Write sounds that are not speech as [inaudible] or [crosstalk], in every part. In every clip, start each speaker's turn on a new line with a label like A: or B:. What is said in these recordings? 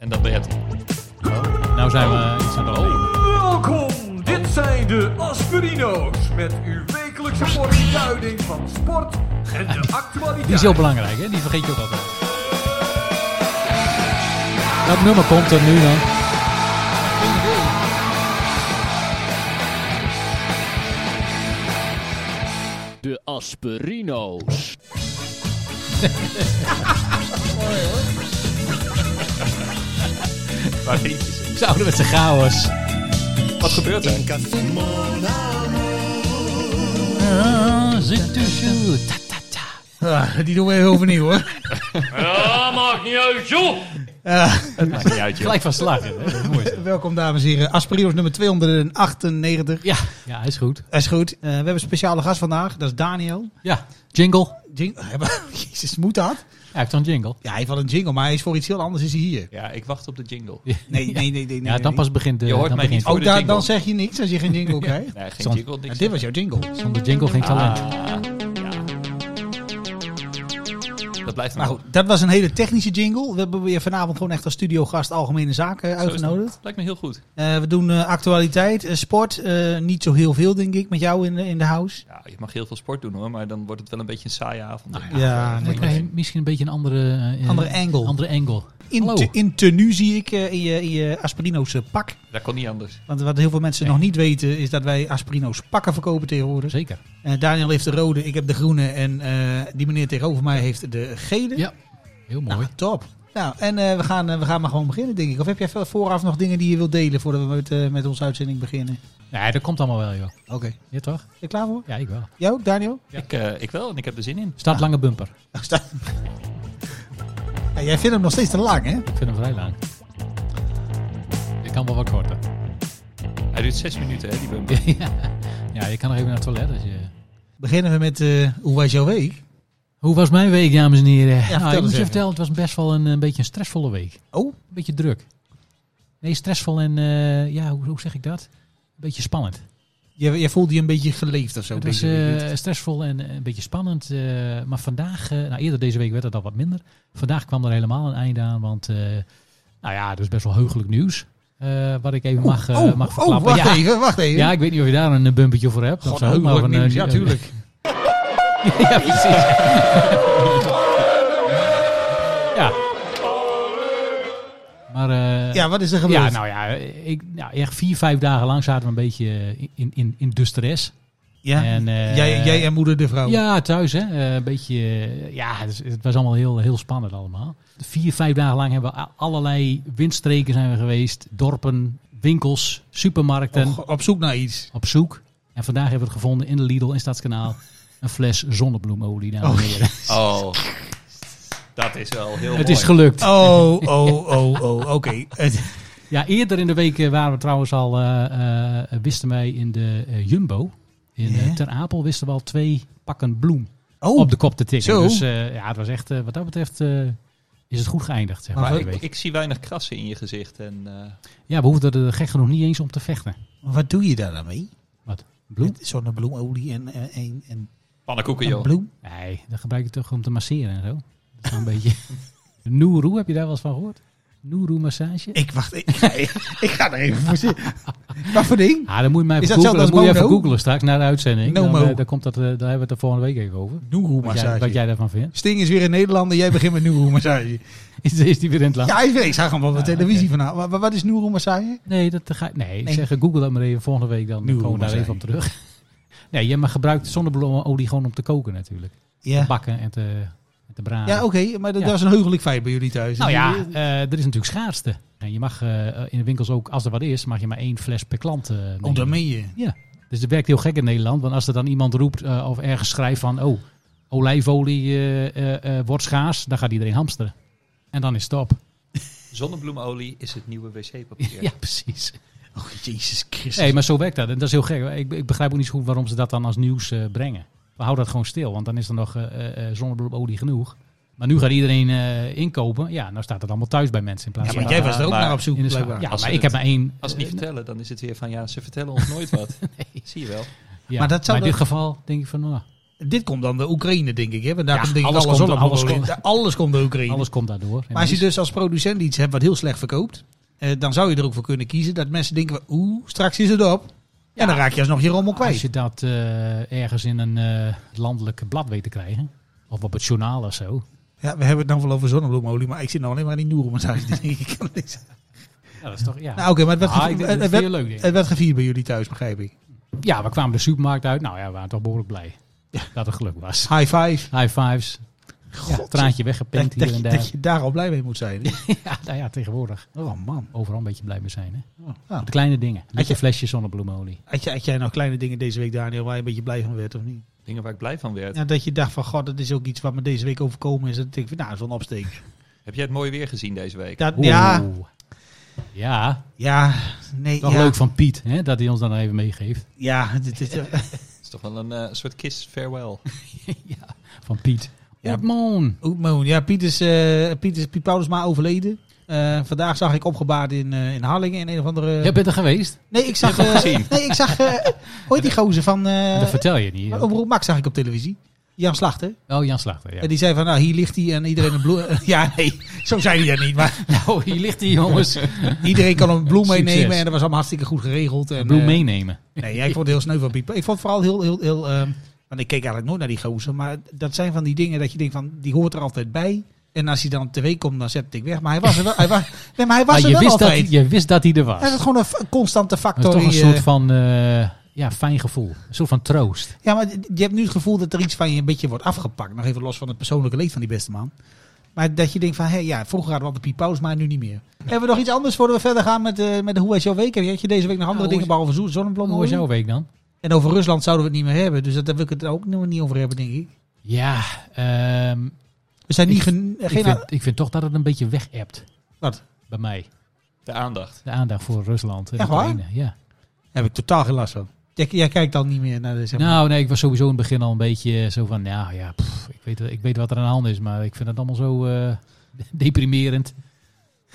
A: En dat ben je het. Nou zijn we iets aan de
B: Oh,
A: hand.
C: Welkom, dit zijn de Aspirino's met uw wekelijkse portie duiding van sport en de actualiteit.
A: Die is heel belangrijk, hè? Die vergeet je ook altijd. Welk nummer komt er nu dan?
D: De Aspirino's.
A: Ze ouderwetse chaos.
B: Wat gebeurt er?
A: Ah, Zit tussen. Ta, ta, ta.
E: Ah, die doen we even overnieuw hoor. [laughs]
D: Ja, maakt niet uit, joh!
E: Eh,
B: Maakt niet uit, joh.
A: Gelijk van slag. Hè? Mooi is dat.
E: welkom dames en heren. Aspirino's nummer 298.
A: Ja, ja, hij is goed.
E: Dat is goed. Eh, we hebben een speciale gast vandaag. Dat is Daniel.
A: Ja, jingle.
E: Jing [laughs] Jezus, moet dat?
A: Ja, hij heeft dan jingle.
E: Ja, hij heeft wel een jingle, maar hij is voor iets heel anders is hij hier.
B: Ja, ik wacht op de jingle.
E: Nee, nee, nee. nee, nee,
A: Ja, dan
E: nee.
A: pas begint de.
B: Je hoort
A: dan
B: mij
A: begint
B: niet
E: Ook
B: voor de
E: daar-
B: jingle.
E: dan zeg je niks als je geen jingle krijgt.
B: Nee, geen
A: Zon.
B: jingle,
E: Ja,
B: niks.
E: dit was jouw jingle.
A: Zonder jingle
B: Ah,
A: geen talent.
B: Dat blijft
E: Maar
B: nou
E: goed, dat was een hele technische jingle. We hebben weer vanavond gewoon echt als studiogast algemene zaken eh, uitgenodigd.
B: Lijkt me heel goed.
E: Eh, we doen eh, actualiteit, eh, sport. eh, niet zo heel veel, denk ik, met jou in, de- in de house.
B: Ja, je mag heel veel sport doen hoor, maar dan wordt het wel een beetje een saaie avond.
E: Nou ja, ja,
A: Dan krijg je misschien een beetje een andere, eh,
E: Andere angle.
A: Andere angle.
E: In,
A: Hallo.
E: te- in tenue zie ik eh, in je, in je Aspirino's eh, pak.
B: Dat kon niet anders.
E: Want wat heel veel mensen
A: Nee.
E: nog niet weten is dat wij Aspirino's pakken verkopen tegenwoordig.
A: Zeker.
E: Eh, Daniel heeft de rode, ik heb de groene en eh, die meneer tegenover mij heeft de gele.
A: Ja, heel mooi.
E: Nou, top. Nou, en eh, we, gaan, eh, we gaan maar gewoon beginnen, denk ik. Of heb jij veel- vooraf nog dingen die je wilt delen voordat we met, eh, met onze uitzending beginnen?
A: Nee, dat komt allemaal wel, joh.
E: Oké.
A: Ja, toch?
E: Je klaar voor?
A: Ja, ik wel.
E: Jou, Daniel? [laughs]
B: Ik, eh, ik wel en ik heb er zin in.
A: Staat lange bumper.
E: Oh, sta- Ja, jij vindt hem nog steeds te lang, hè?
A: Ik vind hem vrij lang. Ik kan wel wat korter. [laughs]
B: Hij duurt zes minuten hè, die bumper.
A: ja. ja, je kan nog even naar het toilet. Als je...
E: Beginnen we met eh, hoe was jouw week?
A: Hoe was mijn week, dames en heren? nou,
E: eens
A: ik moet je
E: even.
A: vertellen, het was best wel een, een beetje een stressvolle week.
E: Oh,
A: Een beetje druk. Nee, stressvol en eh, ja, hoe, hoe zeg ik dat? Een beetje spannend.
E: jij, jij voelde je een beetje geleefd of zo,
A: Het
E: denk
A: was
E: ik.
A: eh, stressvol en eh, een beetje spannend. eh, maar vandaag, eh, nou eerder deze week werd het al wat minder. Vandaag kwam er helemaal een einde aan, want eh, nou ja, dat is best wel heugelijk nieuws. eh, wat ik even mag, eh,
E: oh,
A: mag
E: oh,
A: verklappen.
E: wacht
A: ja,
E: even, wacht even.
A: ja, ik weet niet of je daar een eh, bumpertje voor hebt. of
E: God,
A: zo,
E: heugelijk
A: maar van, eh,
E: nieuws, ja,
A: eh,
E: tuurlijk.
A: [laughs] ja,
E: [laughs]
A: precies. ja. Maar eh,
E: Ja, wat is er gebeurd?
A: ja, nou ja, ik, nou, echt vier, vijf dagen lang zaten we een beetje in, in, in de stress.
E: Ja,
A: En, eh,
E: jij, jij en moeder de vrouw.
A: Ja, thuis hè. Eh, een beetje, eh, ja, het, is- het was allemaal heel, heel spannend allemaal. Vier, vijf dagen lang hebben we a- allerlei windstreken zijn we geweest. Dorpen, winkels, supermarkten.
E: Och, op zoek naar
A: [laughs]
E: iets.
A: Op zoek. En vandaag hebben we het gevonden in de Lidl in Stadskanaal. Een fles zonnebloemolie, dames en heren.
B: Oh, dat is wel heel
A: Het
B: mooi.
A: is gelukt.
E: Oh, oh, oh, oh, oké. Het-
A: Ja, eerder in de week eh, waren we trouwens al, eh, eh, wisten wij in de eh, Jumbo, in eh,
E: Ja.
A: Ter Apel, wisten we al twee pakken bloem
E: Oh,
A: [laughs] op de kop te tikken.
E: zo.
A: Dus eh, ja, het was echt, eh, wat dat betreft, eh, is het goed geëindigd. Zeg maar,
E: Maar
A: die
B: ik,
A: week.
B: ik zie weinig krassen in je gezicht. En, eh,
A: Ja, we hoefden er gek genoeg niet eens om te vechten.
E: wat doe je daar dan mee?
A: Wat? Bloem?
E: Met Zonnebloemolie en, en, en, en,
B: pannenkoeken
E: en
B: joh.
E: bloem?
A: Nee, dat gebruik je toch om te masseren en zo. Dat is wel een [laughs] beetje. Noeroe, heb je daar wel eens van gehoord? Noeroe massage?
E: Ik wacht, ik, ik ga [laughs] er even voor zitten. [laughs] Wat voor ding?
A: Ah, dan moet je mij
E: Is
A: even
E: dat
A: googlen.
E: hetzelfde
A: Dan moet je
E: als
A: even
E: Mono?
A: googlen straks na de uitzending. Dan,
E: Nomo.
A: eh, dan komt dat, eh, daar hebben we het er volgende week even over. Wat jij, wat
E: Noeroe-massage.
A: jij daarvan vindt. [laughs]
E: Sting is weer in Nederland en jij begint met Noeroe-massage.
A: Is, is die weer in het land?
E: Ja, ik, weet- ik zag hem op de televisie vanavond. Maar- maar Wat is Noeroe-massage?
A: Nee, dat ga ik. Nee, ik
E: Nee.
A: zeg Google dat maar even volgende week. Dan
E: Nieuwe
A: komen we daar
E: roemers
A: even op terug. [laughs] Nee, je maar gebruikt zonnebloemolie gewoon om te koken natuurlijk. Te
E: Ja,
A: bakken en te, en te braden.
E: ja oké, maar dat,
A: Ja.
E: dat is een heugelijk feit bij jullie thuis.
A: Nou ja, eh, er is natuurlijk schaarste. En je mag eh, in de winkels ook, als er wat is, mag je maar één fles per klant eh
E: Oh,
A: nemen.
E: dan meen je.
A: Ja, dus dat werkt heel gek in Nederland. Want als er dan iemand roept eh, of ergens schrijft van... oh, olijfolie eh, eh, eh, wordt schaars, dan gaat iedereen hamsteren. En dan is het op.
B: Zonnebloemolie is het nieuwe wc-papier.
A: Ja, precies.
E: Oh, Jezus Christus.
A: Nee, maar zo werkt dat. En dat is heel gek. Ik, ik begrijp ook niet zo goed waarom ze dat dan als nieuws eh, brengen. We houden dat gewoon stil, want dan is er nog eh, eh, eh, zonnebloemolie genoeg. Maar nu gaat iedereen eh, inkopen. Ja, nou staat het allemaal thuis bij mensen in plaats
E: ja,
A: van
E: maar jij was er ook
B: maar-
E: naar op zoek,
A: in de schaar.
E: blijkbaar.
A: Ja,
B: Als
A: maar
B: ze
A: ik heb
B: het-
A: maar één.
B: Als ze het niet vertellen, dan is het weer van ja, ze vertellen ons nooit wat. Zie je wel.
A: Ja,
E: Maar
A: maar
E: dat zou
A: in dit
E: dan-
A: geval denk ik van, nou,
E: Dit komt dan de Oekraïne, denk ik. Hè? Want daar
A: Ja,
E: komt denk ik
A: alles
E: alles,
A: komt-
E: op,
A: alles
E: alles,
A: komt-
E: komt, alles komt de Oekraïne.
A: Alles komt daardoor.
E: maar als je dus als producent iets hebt wat heel slecht verkoopt, eh, dan zou je er ook voor kunnen kiezen dat mensen denken, oeh, straks is het op. Ja, dan raak je alsnog je rommel
A: als
E: kwijt.
A: je dat eh, ergens in een eh, landelijk blad weet te krijgen, of op het journaal of zo,
E: Ja, we hebben het nou wel over zonnebloemolie, maar ik zit nou alleen maar in die noerenmassage. [laughs]
A: ja, dat is toch, ja.
E: nou oké, maar het werd,
A: Ah, ik denk
E: gevierd- het,
A: dat
E: het
A: het
E: werd,
A: heel leuk ding.
E: het werd gevierd bij jullie thuis, begrijp ik.
A: Ja, we kwamen de supermarkt uit. Nou ja, we waren toch behoorlijk blij dat het geluk was.
E: Dus High five.
A: High fives. Ja,
E: God,
A: traantje weggepinkt hier
E: dat, dat,
A: en
E: je,
A: daar.
E: dat je daar al blij mee moet zijn.
A: [laughs] Ja, nou ja, tegenwoordig.
E: Oh man.
A: Overal een beetje blij mee zijn. Hè?
E: Ja.
A: De kleine dingen. Lieve
E: je-
A: flesjes zonnebloemolie.
E: Had, jij, had jij nou kleine dingen deze week, Daniel, waar je een beetje blij van werd of niet?
B: Dingen waar ik blij van werd.
E: Ja, dat je dacht van, god, dat is ook iets wat me deze week overkomen is. Dat ik denk, van, nou, zo'n
A: [laughs]
E: opsteek.
B: Heb jij het mooi weer gezien deze week?
E: Dat,
A: Oeh.
E: ja,
A: Ja,
E: ja, nee,
A: toch
E: ja.
A: leuk van Piet hè, dat hij ons dan even meegeeft.
E: Ja, dit, dit,
B: Het is toch wel een eh, soort kiss farewell.
A: Van Piet.
E: Ja.
A: Ja. man.
E: Oeh, Moon. ja, Piet is, eh, Piet is Piet Paulusma overleden. Eh, vandaag zag ik opgebaard in, eh, in Harlingen in een of andere...
A: Jij bent er geweest?
E: Nee, ik zag... eh, [laughs] nee, ik zag... eh, hoe heet die gozer van... eh
A: dat vertel je niet.
E: Omroep Max zag ik op televisie. Jan Slachter.
A: Oh, Jan Slachter. Ja. [laughs]
E: En die zei van, nou, hier ligt hij en iedereen een bloem... [laughs] ja, nee, zo zei hij dat niet, maar...
A: Nou, hier ligt hij,
E: [laughs]
A: jongens.
E: Iedereen kan een bloem
A: [laughs] Succes.
E: meenemen en dat was allemaal hartstikke goed geregeld. En,
A: Bloem
E: eh,
A: meenemen.
E: nee, ja, ik vond het heel sneu van Piet. Ik vond het vooral heel, heel, heel... ehm, want ik keek eigenlijk nooit naar die gozer. Maar dat zijn van die dingen dat je denkt van, die hoort er altijd bij. En als hij dan op tv komt, dan zet ik weg. Maar hij was er wel, hij was, [laughs] nee, maar hij was
A: Maar
E: er
A: je
E: wel
A: wist, dat,
E: altijd.
A: hij- je wist dat hij er was.
E: Hij was gewoon een f- constante
A: Dat is
E: factor.
A: toch een
E: in je-
A: soort van eh, ja, fijn gevoel. Een soort van troost.
E: Ja, maar je hebt nu het gevoel dat er iets van je een beetje wordt afgepakt. Nog even los van het persoonlijke leed van die beste man. Maar dat je denkt van, hé, ja, vroeger hadden we altijd Piet Pauws, maar nu niet meer. Hebben we nog iets anders voordat we verder gaan met, eh, met de Hoe is jouw week? Heb je- had je deze week nog andere
A: Nou,
E: dingen behalve zo-
A: Hoe is
E: zonnebloemolie?
A: jouw week dan?
E: En over Rusland zouden we het niet meer hebben. Dus dat- daar wil ik het ook nog niet over hebben, denk ik.
A: Ja, ehm,
E: We zijn
A: Ik-
E: niet gen-
A: ik,
E: geen...
A: vind, ik vind toch dat het een beetje weg hebt
E: Wat?
A: bij mij.
B: De
A: [laughs]
B: aandacht.
A: De aandacht voor Rusland. en
E: Echt waar?
A: Oekraïne, Ja.
E: Heb ik totaal geen last van. Jij, jij kijkt dan niet meer naar de... Zeg maar.
A: Nou, nee, ik was sowieso in het begin al een beetje zo van, nou ja, pff, ik, weet, ik weet wat er aan de hand is, maar ik vind het allemaal zo eh, [laughs] deprimerend.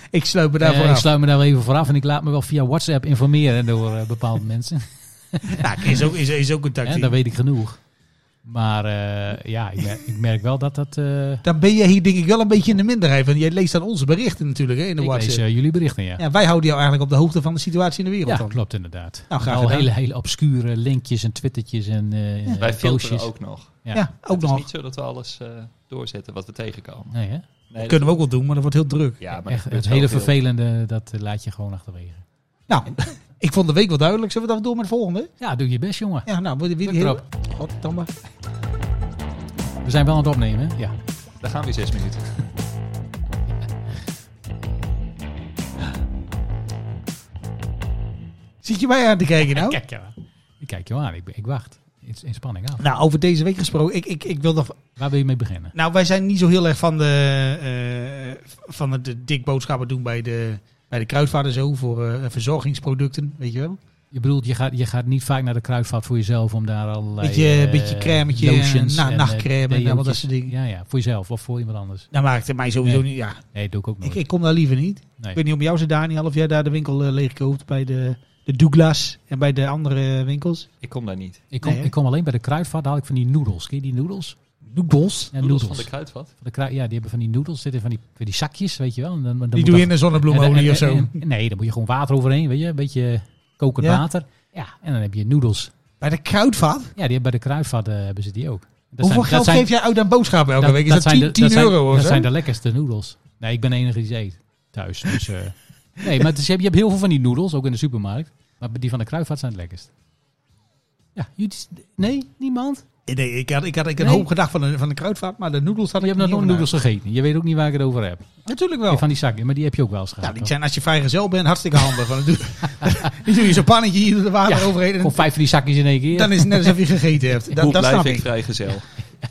E: ik sluit me daarvoor
A: Eh, ik
E: af.
A: sluit me daar wel even voor af en ik laat me wel via WhatsApp informeren door eh, bepaalde [laughs] mensen. [laughs]
E: Ja, is ook, is, is ook een
A: Hè,
E: tactiek.
A: dat weet ik genoeg. Maar eh, ja, ik merk, ik merk wel dat dat... eh,
E: Dan ben je hier denk ik wel een beetje in de minderheid. Want jij leest dan onze berichten natuurlijk hè, in de
A: ik
E: WhatsApp.
A: lees eh, jullie berichten, ja.
E: Ja, wij houden jou eigenlijk op de hoogte van de situatie in de wereld
A: Ja,
E: dan.
A: klopt inderdaad.
E: Nou, graag
A: al
E: gedaan.
A: hele, hele obscure linkjes en twittertjes en eh
B: Wij
A: eh,
B: filteren
A: postjes.
B: ook nog.
E: Ja,
A: Ja.
E: ook
B: het is
E: nog.
B: niet zo dat we alles eh, doorzetten wat we tegenkomen.
A: Nee, hè?
B: Nee,
E: Kunnen we ook wel doen, maar dat wordt heel druk.
B: ja, maar
A: Echt,
B: dat
A: het
B: gebeurt
A: hele
B: zoveel.
A: vervelende, dat eh, laat je gewoon achterwege.
E: Nou, ik vond de week wel duidelijk. Zullen we dan door met de volgende?
A: Ja, doe je best, jongen.
E: Ja, nou, wil je weer die
A: Druk
E: hele... Goddamme.
A: We zijn wel aan het opnemen, hè? Ja.
E: Oh.
B: Daar gaan we weer zes minuten.
E: Zit je mij aan te kijken nou?
A: Kijk jou aan. Ik kijk jou aan. Ik, ben- ik wacht. In, in spanning af.
E: Nou, over deze week gesproken. Ik, ik, ik wil nog...
A: Waar wil je mee beginnen?
E: Nou, wij zijn niet zo heel erg van de, eh, van het eh, dik boodschappen doen bij de, bij de kruidvaart en zo. Voor eh, verzorgingsproducten, weet je wel.
A: Je bedoelt, je gaat, je gaat niet vaak naar de kruidvat voor jezelf om daar allerlei...
E: Beetje-
A: eh,
E: beetje crèmetje,
A: lotions
E: na-
A: en, eh,
E: nachtcrème en
A: deootjes.
E: allemaal dat soort dingen.
A: Ja, ja. Voor jezelf of voor iemand anders.
E: Nou maakt het mij sowieso
A: Nee.
E: niet... Ja,
A: Nee, doe ik ook
E: ik,
A: nooit.
E: ik kom daar liever niet.
A: Nee.
E: Ik weet niet om jou zit, Daniel, of jij daar de winkel eh, leeg koopt bij de, de Douglas en bij de andere eh, winkels.
B: Ik kom daar niet.
A: Ik kom,
E: Nee, hè?
A: ik kom alleen bij de kruidvat, daar haal ik van die noedels. Ken je die noedels?
E: Douglas?
A: Ja,
B: Noedels
A: noedels.
B: van de kruidvat.
A: Van de krui- ja, die hebben van die noedels, zitten van die, van die zakjes, weet je wel. En dan, dan
E: Die
A: moet
E: doe je
A: dat-
E: in de zonnebloemolie
A: en- en-
E: of zo.
A: en- en- nee, dan moet je gewoon water overheen, weet je. Een beetje kokend
E: Ja.
A: water. Ja, en dan heb je noedels.
E: bij de kruidvat?
A: Ja, die hebben bij de kruidvat eh, hebben ze die ook. Dat
E: Hoeveel
A: dat
E: geld geef jij uit aan boodschappen elke week? Is dat, 10,
A: zijn de- dat zijn-
E: euro of
A: Dat
E: zo?
A: zijn de lekkerste noedels. Nee, ik ben de enige die ze eet thuis. Dus,
E: [laughs]
A: eh, nee, maar het is- je hebt je hebt heel veel van die noedels, ook in de supermarkt. Maar die van de kruidvat zijn het lekkerst. Ja, jullie, nee, niemand?
E: Nee, ik had, ik had, ik had
A: Nee.
E: een hoop gedacht van de, van de kruidvat, maar de noedels had
A: Je
E: ik
A: hebt nog nooit noedels gegeten. Je weet ook niet waar ik het over heb.
E: Natuurlijk
A: Die
E: wel.
A: Van die zakjes, maar die heb je ook wel eens
E: Ja,
A: gehad.
E: die zijn als je vrijgezel bent hartstikke handig. Want [laughs] dan doe, dan doe je zo'n pannetje hier de water overheen en
A: Gewoon vijf van die zakjes in één keer.
E: dan is het net alsof je gegeten [laughs] hebt. Dat,
B: Hoe
E: dat
B: blijf
E: snap
B: ik
E: ik.
B: vrijgezel?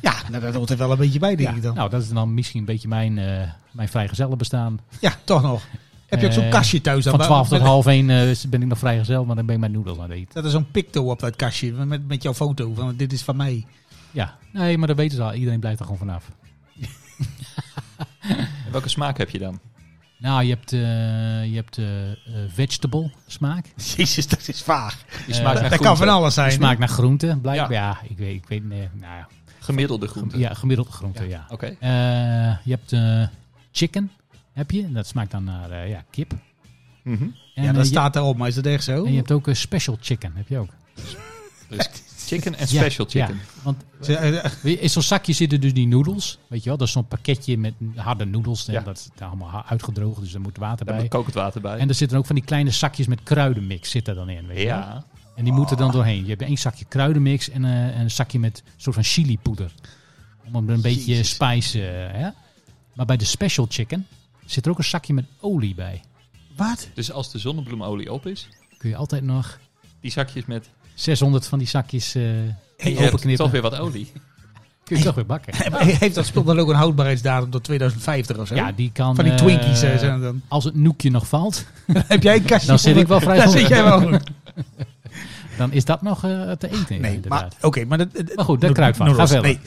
E: Ja, nou, dat hoort er wel een beetje bij, denk
A: Ja,
E: ik dan.
A: Nou, dat is dan misschien een beetje mijn, eh mijn vrijgezellen bestaan.
E: Ja, toch nog. Heb je ook zo'n
A: Eh,
E: kastje thuis? dan
A: Van
E: waar-
A: 12 tot
E: met-
A: half 1 ben ik nog vrijgezel, maar dan ben ik mijn noedels aan het eten.
E: Dat is zo'n picto op dat kastje met, met jouw foto van dit is van mij. [laughs]
A: Ja, nee, maar dat weten ze al. Iedereen blijft er gewoon vanaf.
B: En welke smaak heb je dan?
A: Nou, je hebt, eh, je hebt eh, eh, vegetable smaak.
E: Jezus, dat is vaag.
B: Die smaakt
A: Eh,
B: naar
E: dat kan
B: groente.
E: van alles zijn.
A: Smaakt naar groente, blijkbaar. Ja, ik weet, ik weet nee, nou ja.
B: Gemiddelde groente.
A: Ja, gemiddelde groente, ja.
B: Oké.
A: [laughs] Eh, je hebt eh, chicken, heb je. Dat smaakt dan naar eh, ja, kip. En,
B: Mhm.
E: ja,
A: eh,
E: dat
A: je-
E: staat erop, maar is dat echt zo?
A: En je hebt ook eh, special chicken, heb je ook.
B: Dus chicken en
A: Ja,
B: special chicken.
A: Ja, want
E: Ze- eh,
A: Weet je, In zo'n zakje zitten dus die noedels. Weet je wel, dat is zo'n pakketje met harde noedels. En
B: Ja.
A: Dat is daar allemaal ha- uitgedroogd, dus er moet water
B: Daar
A: bij.
B: moet kokend water bij.
A: En er zitten ook van die kleine zakjes met kruidenmix zit er dan in. Weet je wel.
B: ja.
A: En die moeten dan doorheen. Je hebt één zakje kruidenmix en eh, een zakje met een soort van chilipoeder. Om hem een beetje
E: Jezus.
A: spice... eh, hè? Maar bij de special chicken zit er ook een zakje met olie bij. [laughs]
E: Wat?
B: Dus als de zonnebloemolie op is,
A: Kun je altijd nog
B: die zakjes met
A: 600 van die zakjes eh
B: je hebt
A: openknippen.
B: toch weer wat olie.
A: Kun je toch weer bakken.
E: Heeft dat spul dan ook een houdbaarheidsdatum tot 2050 of zo?
A: Ja, die kan...
E: Van die
A: eh,
E: Twinkies eh, zijn het
A: [laughs]
E: dan.
A: Als het noekje nog valt...
E: Heb jij een kastje?
A: Dan zit
E: vol-
A: ik wel vrij
E: [laughs] Dan
A: goed.
E: zit jij
A: [laughs]
E: wel goed.
A: Dan is dat nog eh, te eten.
E: Nee, maar
A: inderdaad.
E: oké. maar, dat, dat-
A: Maar goed, daar
E: dat-
A: kruipt van.
E: dat-
A: Ga verder.
E: Nee.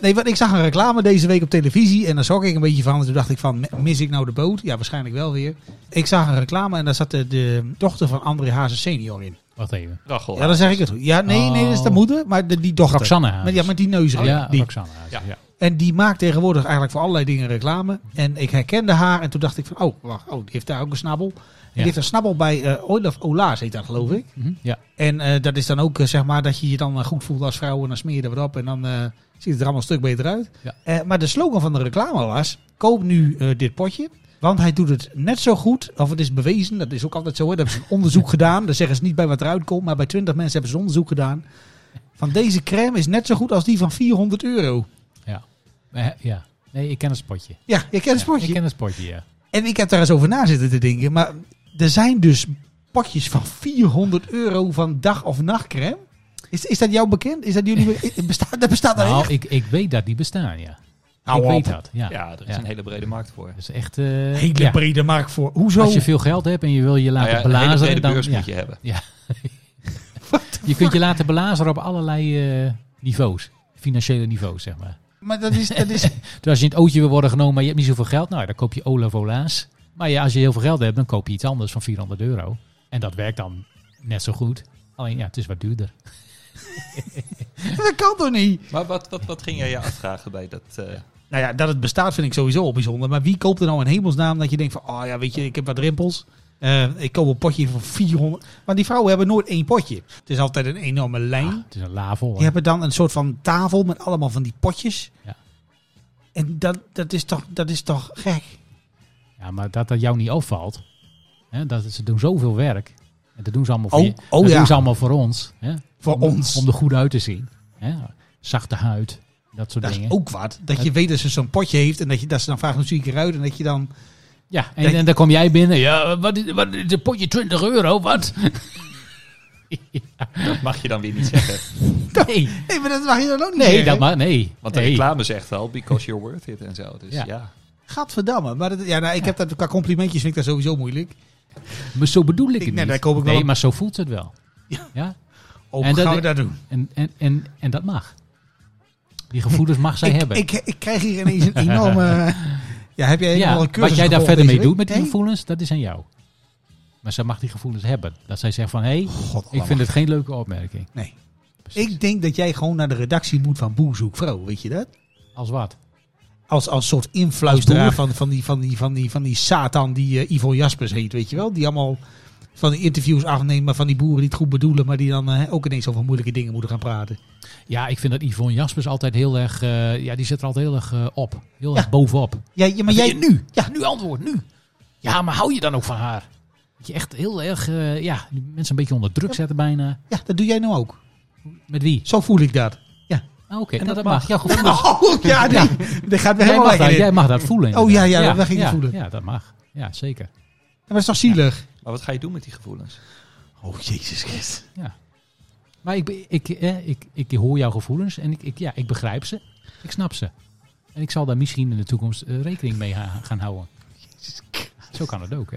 E: Nee, want ik zag een reclame deze week op televisie en daar schrok ik een beetje van. En toen dacht ik van, mis ik nou de boot? Ja, waarschijnlijk wel weer. Ik zag een reclame en daar zat de, de dochter van André Hazen senior in.
A: Wacht even.
B: Rachel.
E: Ja, dan zeg ik het goed. Ja, nee, nee, dat is de
A: Oh.
E: moeder, maar de, die dochter.
A: Roxanne Hazes.
E: Met, Oh, ja, met die neuzen.
A: ja,
E: die.
A: Roxanne Hazes,
B: Ja.
A: ja.
E: En die maakt tegenwoordig eigenlijk voor allerlei dingen reclame. En ik herkende haar en toen dacht ik van, oh, wacht, oh die heeft daar ook een snabbel. En die heeft een snabbel bij eh Oil of Ola's, heet dat geloof ik.
A: Mhm, ja.
E: En eh, dat is dan ook, eh, zeg maar, dat je je dan eh, goed voelt als vrouw en dan smeer je er wat op en dan eh, ziet het er allemaal een stuk beter uit.
A: Ja.
E: Eh, maar de slogan van de reclame was, koop nu eh, dit potje, want hij doet het net zo goed, of het is bewezen, dat is ook altijd zo, hè. daar hebben ze een
A: [laughs]
E: onderzoek gedaan, daar zeggen ze niet bij wat eruit komt, maar bij 20 mensen hebben ze een onderzoek gedaan. Van deze crème is net zo goed als die van 400 euro.
A: Eh, ja. Nee, ik ken het spotje.
E: Ja, je kent
A: Ja,
E: het potje.
A: ik ken het spotje, ja.
E: En ik heb daar eens over na zitten te denken, maar er zijn dus potjes van 400 euro van dag- of nachtcrème. Is, is dat jou bekend? Is dat jullie [laughs] be- bestaat, dat bestaat nou,
A: Nou, ik, ik weet dat die bestaan, ja.
E: Hou
A: ik
E: op.
A: weet dat, ja.
B: Ja, er is
A: Ja.
B: een hele brede markt voor.
A: Dat is echt... eh,
E: hele
A: ja.
E: brede markt voor. Hoezo?
A: Als je veel geld hebt en je wil je
B: Nou
A: laten
B: ja, een hele
A: belazeren...
B: brede
A: Dan,
B: beurs
A: ja.
B: moet je hebben.
A: je kunt je laten belazeren op allerlei eh, niveaus. Financiële niveaus, zeg maar.
E: Maar dat is, dat is
A: Dus als je in het ootje wil worden genomen, maar je hebt niet zoveel geld, nou, dan koop je Olaf Ola's. Maar ja, als je heel veel geld hebt, dan koop je iets anders van 400 euro. En dat werkt dan net zo goed. Alleen ja, het is wat duurder.
E: dat kan toch niet?
B: Maar wat, wat, wat ging jij je afvragen bij dat... eh,
E: [laughs] Nou ja, dat het bestaat vind ik sowieso al bijzonder. Maar wie koopt er nou in hemelsnaam dat je denkt van, oh ja, weet je, ik heb wat rimpels. Eh, ik koop een potje van 400. Maar die vrouwen hebben nooit één potje. Het is altijd een enorme lijn.
A: Ah, het is een lavel.
E: Die hebben dan een soort van tafel met allemaal van die potjes.
A: Ja.
E: En dat, dat, is toch, dat is toch gek?
A: Ja, maar dat dat jou niet opvalt. Hè, dat, ze doen zoveel werk. En dat doen ze allemaal voor,
E: Oh,
A: je-
E: oh
A: dat
E: ja.
A: doen ze allemaal voor ons. Hè?
E: Voor
A: om,
E: ons.
A: Om er goed uit te zien. Hè? Zachte huid. Dat soort
E: dat
A: dingen.
E: is ook wat. Dat je weet dat ze zo'n potje heeft en dat, je, dat ze dan vraagt hoe zie ik eruit. En dat je dan...
A: Ja, en, en dan kom jij binnen. Ja, wat is, wat is een potje 20 euro? Wat?
B: dat mag je dan weer niet zeggen.
A: [laughs] Nee,
E: Nee, maar [laughs] dat mag je dan ook niet
A: nee,
E: zeggen.
A: dat maar, nee.
B: Want de
A: nee.
B: reclame zegt al, because you're worth it en zo. Dus
A: Ja.
B: ja.
E: Gadverdamme. Maar dat, ja, nou, ik heb dat, qua complimentjes vind ik dat sowieso moeilijk.
A: Maar zo bedoel ik
E: Ik-
A: het
E: nee,
A: niet.
E: daar koop ik wel
A: nee,
E: op.
A: maar zo voelt het wel. Ja.
E: Ook
A: En dat-
E: Oh, gaan we dat doen.
A: En, en, en, en dat mag. Die gevoelens mag zij
E: ik,
A: hebben.
E: Ik, ik krijg hier ineens een enorme...
A: [laughs]
E: ja, heb jij
A: ja,
E: helemaal een cursus
A: wat jij daar
E: gevolgd
A: verder mee
E: deze
A: doet met
E: week?
A: die gevoelens, dat is aan jou. Maar zij mag die gevoelens hebben. Dat zij zegt van, hé, hey,
E: Nee? God,
A: ik vind het geen leuke opmerking.
E: Nee.
A: Precies.
E: Ik denk dat jij gewoon naar de redactie moet van Boer Zoek Vrouw, weet je dat?
A: Als wat?
E: Als, als soort influisteraar van, van, die, van, die, van, die, van die Satan die eh, Ivo Jaspers heet, weet je wel? Die allemaal van die interviews afnemen van die boeren die het goed bedoelen, maar die dan eh, ook ineens over moeilijke dingen moeten gaan praten.
A: Ja, ik vind dat Yvonne Jaspers altijd heel erg, eh, ja, die zit er altijd heel erg eh, op. Heel erg
E: Ja.
A: bovenop.
E: Ja, ja, maar
A: Wat
E: jij
A: vind je
E: nu? Ja,
A: Nu antwoord, nu. Ja, maar hou je dan ook van haar? Dat je echt heel erg, eh, ja, die mensen een beetje onder druk zetten bijna.
E: ja, dat doe jij nou ook.
A: Met wie?
E: Zo voel ik dat.
A: Ah, Oké, nou, dat mag. Ja, gevoelens.
E: [laughs] Oh, ja, nee. Dit gaat
A: Jij
E: weer helemaal
A: mag, dat,
E: lekker in.
A: jij mag dat voelen.
E: Oh, ja, ja,
A: inderdaad.
E: dat mag ik niet voelen.
A: Ja, dat mag. Ja, zeker.
E: Maar dat is toch zielig?
B: Maar wat ga je doen met die gevoelens?
E: Oh, Jezus Christus.
A: Maar ik, be- ik, eh, ik, ik hoor jouw gevoelens en ik, ik, ja, ik begrijp ze. Ik snap ze. En ik zal daar misschien in de toekomst eh, rekening mee ha- gaan houden. Zo kan het ook, hè?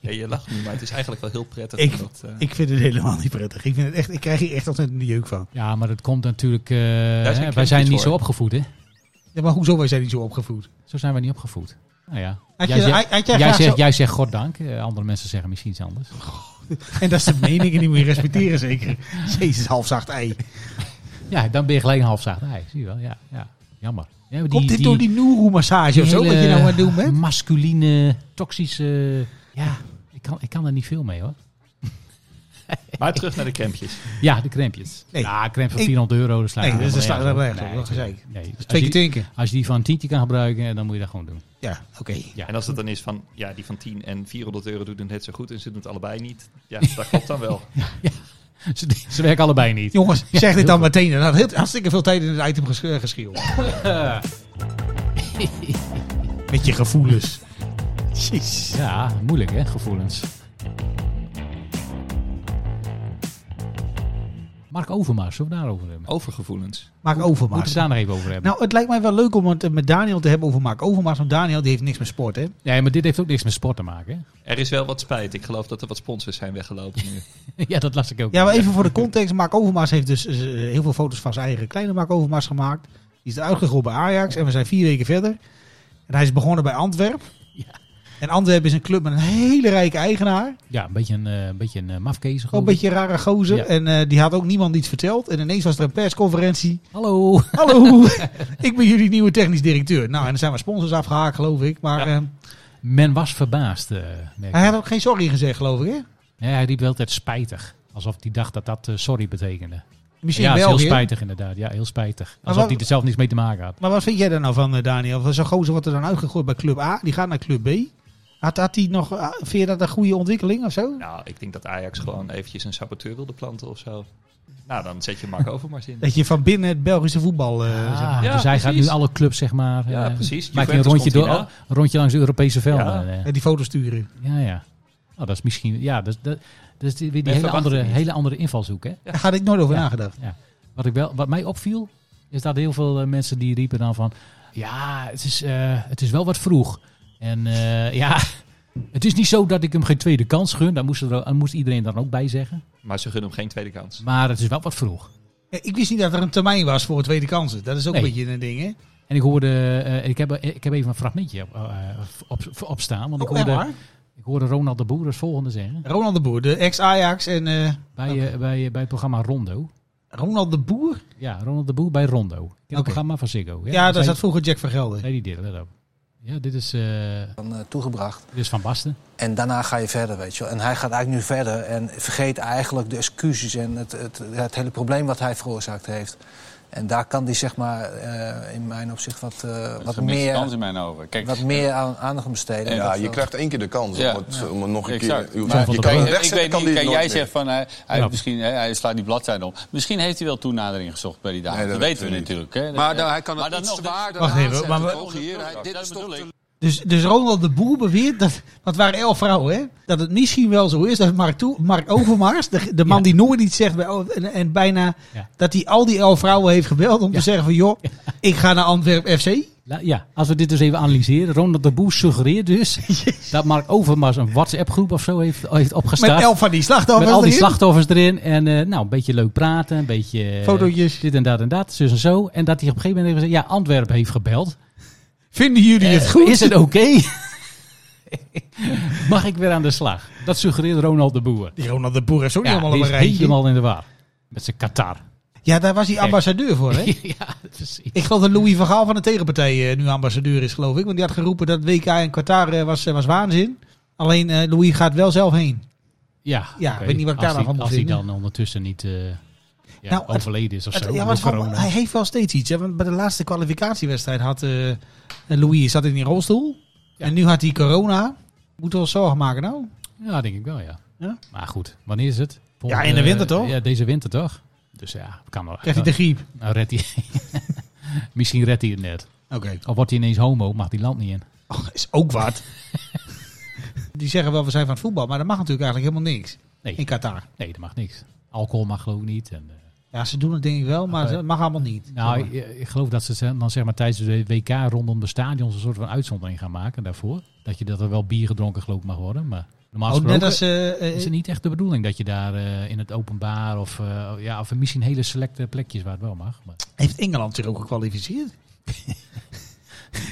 B: Ja, je lacht nu, maar het is eigenlijk wel heel prettig.
E: Ik-
B: dat, eh,
E: Ik vind het helemaal niet prettig. Ik, vind het echt, ik krijg hier echt altijd een jeuk van.
A: Ja, maar dat komt natuurlijk... eh, hè, wij
B: kritisch
A: zijn niet
B: voor.
A: zo opgevoed, hè?
E: Ja, maar hoezo wij zijn niet zo opgevoed?
A: Zo zijn wij niet opgevoed. Nou ja.
E: Had
A: Jij
E: je-
A: zegt-
E: had- had jij
A: jij
E: graag
A: zegt,
E: zo-
A: jij zegt goddank. eh, andere mensen zeggen misschien iets anders.
E: [laughs] En dat is de mening en die moet je respecteren zeker. Jezus, halfzacht ei.
A: Ja, dan ben je gelijk een halfzaagd ei. Zie je wel, ja. ja. Jammer. Ja, maar
E: Komt dit door die Nuru-massage of zo, wat je nou aan het doen bent?
A: masculine, toxische... Ja, ik kan, ik kan er niet veel mee hoor.
B: Maar terug naar de campjes.
A: Ja, de crèmejes.
E: Nee.
A: Ja, crème van
E: Ik-
A: 400 euro. dat slaat
E: Nee,
A: helemaal
E: Nou, dat is- dat
A: nergens
E: slaat
A: op.
E: helemaal nergens op, dat is
A: nee, nee. Als,
E: Twee keer
A: je,
E: tinken.
A: als je die van een tientje kan gebruiken, eh, dan moet je dat gewoon doen. [laughs]
E: Ja, oké.
A: Ja.
B: En als het dan is van, ja, die van 10 en 400 euro doen het net zo goed en ze doen het allebei niet. Ja, dat klopt dan
A: [laughs]
B: wel.
A: Ze, ze werken allebei niet.
E: Jongens, zeg dit
A: heel
E: dan meteen. Dan had heel, hartstikke veel tijd in het item ges- eh, [laughs] geschreeuwd. Met je gevoelens. Jeez.
A: Ja, moeilijk hè, gevoelens. Mark Overmars, zullen we het daarover hebben?
B: Overgevoelens.
E: Maak
A: Moeten we het
E: overmaat.
A: daar nog even over hebben?
E: Nou, het lijkt mij wel leuk om het eh, met Daniel te hebben over Maak Overmaat. Want Daniel die heeft niks met sport, hè?
A: nee, maar dit heeft ook niks met sport te maken.
B: Er is wel wat spijt. Ik geloof dat er wat sponsors zijn weggelopen nu.
A: Hè? [laughs] ja, dat las ik ook.
E: Ja, maar even voor de context. Maak Overmaas heeft dus eh, heel veel foto's van zijn eigen kleine Maak Overmaas gemaakt. Die is eruit gegroeid bij Ajax en we zijn vier weken verder. En hij is begonnen bij Antwerp.
A: Ja.
E: En Antwerp is een club met een hele rijke eigenaar.
A: Ja, een beetje een, eh, een, beetje een eh, mafkees.
E: Gewoon Oh, een beetje een rare gozer.
A: Ja.
E: En eh, die had ook niemand iets verteld. En ineens was er een persconferentie. [laughs]
A: Hallo.
E: Hallo, ik ben jullie nieuwe technisch directeur. Nou, en er zijn wat sponsors afgehaakt, geloof ik. Maar eh,
A: Men was verbaasd. eh, merk ik.
E: hij had ook geen sorry gezegd, geloof ik, hè?
A: Nee, hij riep wel altijd spijtig. Alsof hij dacht dat dat eh, sorry betekende.
E: Misschien
A: ja,
E: wel
A: het is heel
E: België.
A: spijtig inderdaad. Ja, heel spijtig. Alsof
E: wat-
A: hij er zelf niets mee te maken had.
E: Maar wat vind jij daar nou van, eh, Daniel? Van Zo'n gozer wordt er dan uitgegooid bij club A, die gaat naar club B. Had, had die nog, ah, vind je dat een goede ontwikkeling of zo?
B: Nou, ik denk dat Ajax gewoon eventjes een saboteur wilde planten of zo. Nou, dan zet je
E: [laughs]
B: Mark Overmars in.
E: Dat je van binnen het Belgische voetbal... eh, zeg maar.
A: ja,
B: Ja,
A: dus hij gaat nu
B: precies.
A: alle clubs, zeg maar.
B: Ja,
A: eh,
B: precies.
A: Maakt hij een
B: Juventus
A: rondje,
B: komt
A: door,
B: hierna.
A: een rondje langs de Europese velden. eh.
E: En die foto's sturen.
A: Ja, ja. Oh, dat is misschien. Ja, dat, dat, dat is weer die hele
B: verwacht
A: andere,
B: het niet.
A: hele andere invalshoek. Hè?
E: Daar had ik nooit over
A: Ja.
E: nagedacht.
A: Wat, ik wel, wat mij opviel, is dat heel veel eh, mensen die riepen dan van. Ja, het is, eh, het is wel wat vroeg. En eh, ja, [laughs] het is niet zo dat ik hem geen tweede kans gun. Daar moest, er, daar moest iedereen dan ook bij zeggen.
B: Maar ze gunnen hem geen tweede kans.
A: Maar het is wel wat vroeg.
E: Ja, Eh, ik wist niet dat er een termijn was voor tweede kansen. Dat is ook
A: Nee.
E: een beetje een ding, hè?
A: En ik hoorde, eh, ik, heb, ik heb even een fragmentje op, eh, op, op staan. Want ik,
E: Oh, echt
A: hoorde,
E: waar?
A: ik hoorde Ronald de Boer het volgende zeggen.
E: Ronald de Boer, de ex-Ajax en... eh,
A: Bij, eh, bij, eh, bij het programma Rondo.
E: Ronald de Boer?
A: Ja, Ronald de Boer bij Rondo. Ken je
E: Oké.
A: Het programma van Ziggo.
E: Ja,
A: Zij-
E: daar zat vroeger Jack van Gelder.
A: Nee, die deel, let op. Ja, dit is, eh,
F: dan, eh, toegebracht.
A: dit is Van Basten.
F: En daarna ga je verder, weet je wel. En hij gaat eigenlijk nu verder en vergeet eigenlijk de excuses en het, het, het hele probleem wat hij veroorzaakt heeft. En daar kan hij zeg maar eh, in mijn opzicht wat, eh, wat,
G: gemiste kans
F: meer,
G: in mijn ogen. Kijk,
F: wat meer aan, aandacht aan besteden.
H: Ja,
F: Dat
H: je
F: wel-
H: krijgt één keer de kans
G: Ja.
H: om, het, om het nog een
G: exact.
H: keer...
G: Maar
A: van
H: je
A: de
H: kan je
A: Brugge.
G: ik
H: wegzetten,
G: weet
H: kan
G: niet,
H: die
G: kijk, jij
H: het nooit meer.
G: zegt van hij, hij,
A: Ja.
G: misschien, hè, hij slaat die bladzijde om. Misschien heeft hij wel toenadering gezocht bij die dame.
H: Nee,
G: dat,
H: dat
G: weten we
H: weten we
G: natuurlijk. Hè.
H: Maar nou, hij kan
G: Maar
H: het
G: dan
H: iets
G: nog,
H: te
G: dat-
H: waarde
E: Wacht even, maar we-
H: Ogen hier, hij- dit
G: dat
H: is toch
G: bedoel
H: te-
G: ik.
E: Dus, dus Ronald de Boer beweert dat. Want het waren elf vrouwen, hè? Dat het misschien wel zo is dat Mark, Toe- Mark Overmars, de, de man
A: Ja.
E: die nooit iets zegt bij, O- en, en bijna.
A: Ja.
E: dat hij al die elf vrouwen heeft gebeld om te zeggen: van joh, ik ga naar Antwerp FC.
A: La- ja, als we dit dus even analyseren. Ronald de Boer suggereert [laughs] dus dat Mark Overmars een WhatsApp-groep of zo heeft, heeft opgestart.
E: Met elf van die
A: Met
E: slachtoffers.
A: al die
E: erin.
A: slachtoffers erin. En eh, nou, een beetje leuk praten. Een beetje eh,
E: Fotootjes.
A: dit en dat en dat. Zus en zo. En dat hij op een gegeven moment heeft gezegd, ja, Antwerpen heeft gebeld.
E: Vinden jullie het goed?
A: Is het oké? [laughs] Mag ik weer aan de slag? Dat suggereert Ronald de Boer.
E: Die Ronald de Boer heeft ook
A: Ja,
E: niet
A: die
E: allemaal
A: is
E: een rijtje.
A: helemaal in de war. Met zijn Qatar.
E: [laughs] Ja, daar was hij ambassadeur voor, hè?
A: [laughs] ja, precies.
E: Ik geloof dat Louis van Gaal van de tegenpartij eh, nu ambassadeur is, geloof ik. Want die had geroepen dat WK in Qatar eh, was, eh, was waanzin. Alleen eh, Louis gaat wel zelf heen.
A: Ja,
E: Ja,
A: oké.
E: ik weet niet wat ik
A: Als
E: daar
A: die-
E: nou van moet
A: Als hij
E: vinden.
A: dan ondertussen niet eh, ja,
E: Nou, het-
A: overleden is of
E: Het-
A: zo.
E: ja,
A: door
E: want van-
A: corona.
E: hij heeft wel steeds iets. Hè? Want bij de laatste kwalificatiewedstrijd had eh, Louis zat in die rolstoel.
A: Ja.
E: En nu had hij corona. Moeten we ons zorgen maken nou?
A: Ja, denk ik wel, ja.
E: Ja?
A: Maar goed, wanneer is het?
E: Ja, in de
A: eh,
E: winter toch?
A: Ja, deze winter toch? Dus ja, kan wel.
E: Krijgt hij de griep?
A: Nou, redt hij. [laughs] Misschien redt hij het net.
E: Oké. Oh,
A: Of wordt hij ineens homo, mag die land niet in.
E: is ook wat. [laughs] die zeggen wel, we zijn van het voetbal. Maar dat mag natuurlijk eigenlijk helemaal niks. In
A: Nee,
E: Qatar.
A: nee, dat mag niks. Alcohol mag geloof ik niet. En, eh,
E: Ja, ze doen het denk ik wel, maar
A: Oké.
E: het mag allemaal niet.
A: nou,
E: Zeg maar.
A: ik, ik geloof dat ze ze dan zeg maar tijdens de WK rondom de stadions een soort van uitzondering gaan maken daarvoor. Dat je dat er wel bier gedronken geloof ik mag worden, maar normaal
E: oh, net
A: gesproken...
E: als... eh, eh,
A: Is het niet echt de bedoeling dat je daar eh, in het openbaar of, eh, ja, of misschien hele selecte plekjes waar het wel mag?
E: [laughs]
A: Maar,
E: eh, heeft Engeland zich ook gekwalificeerd?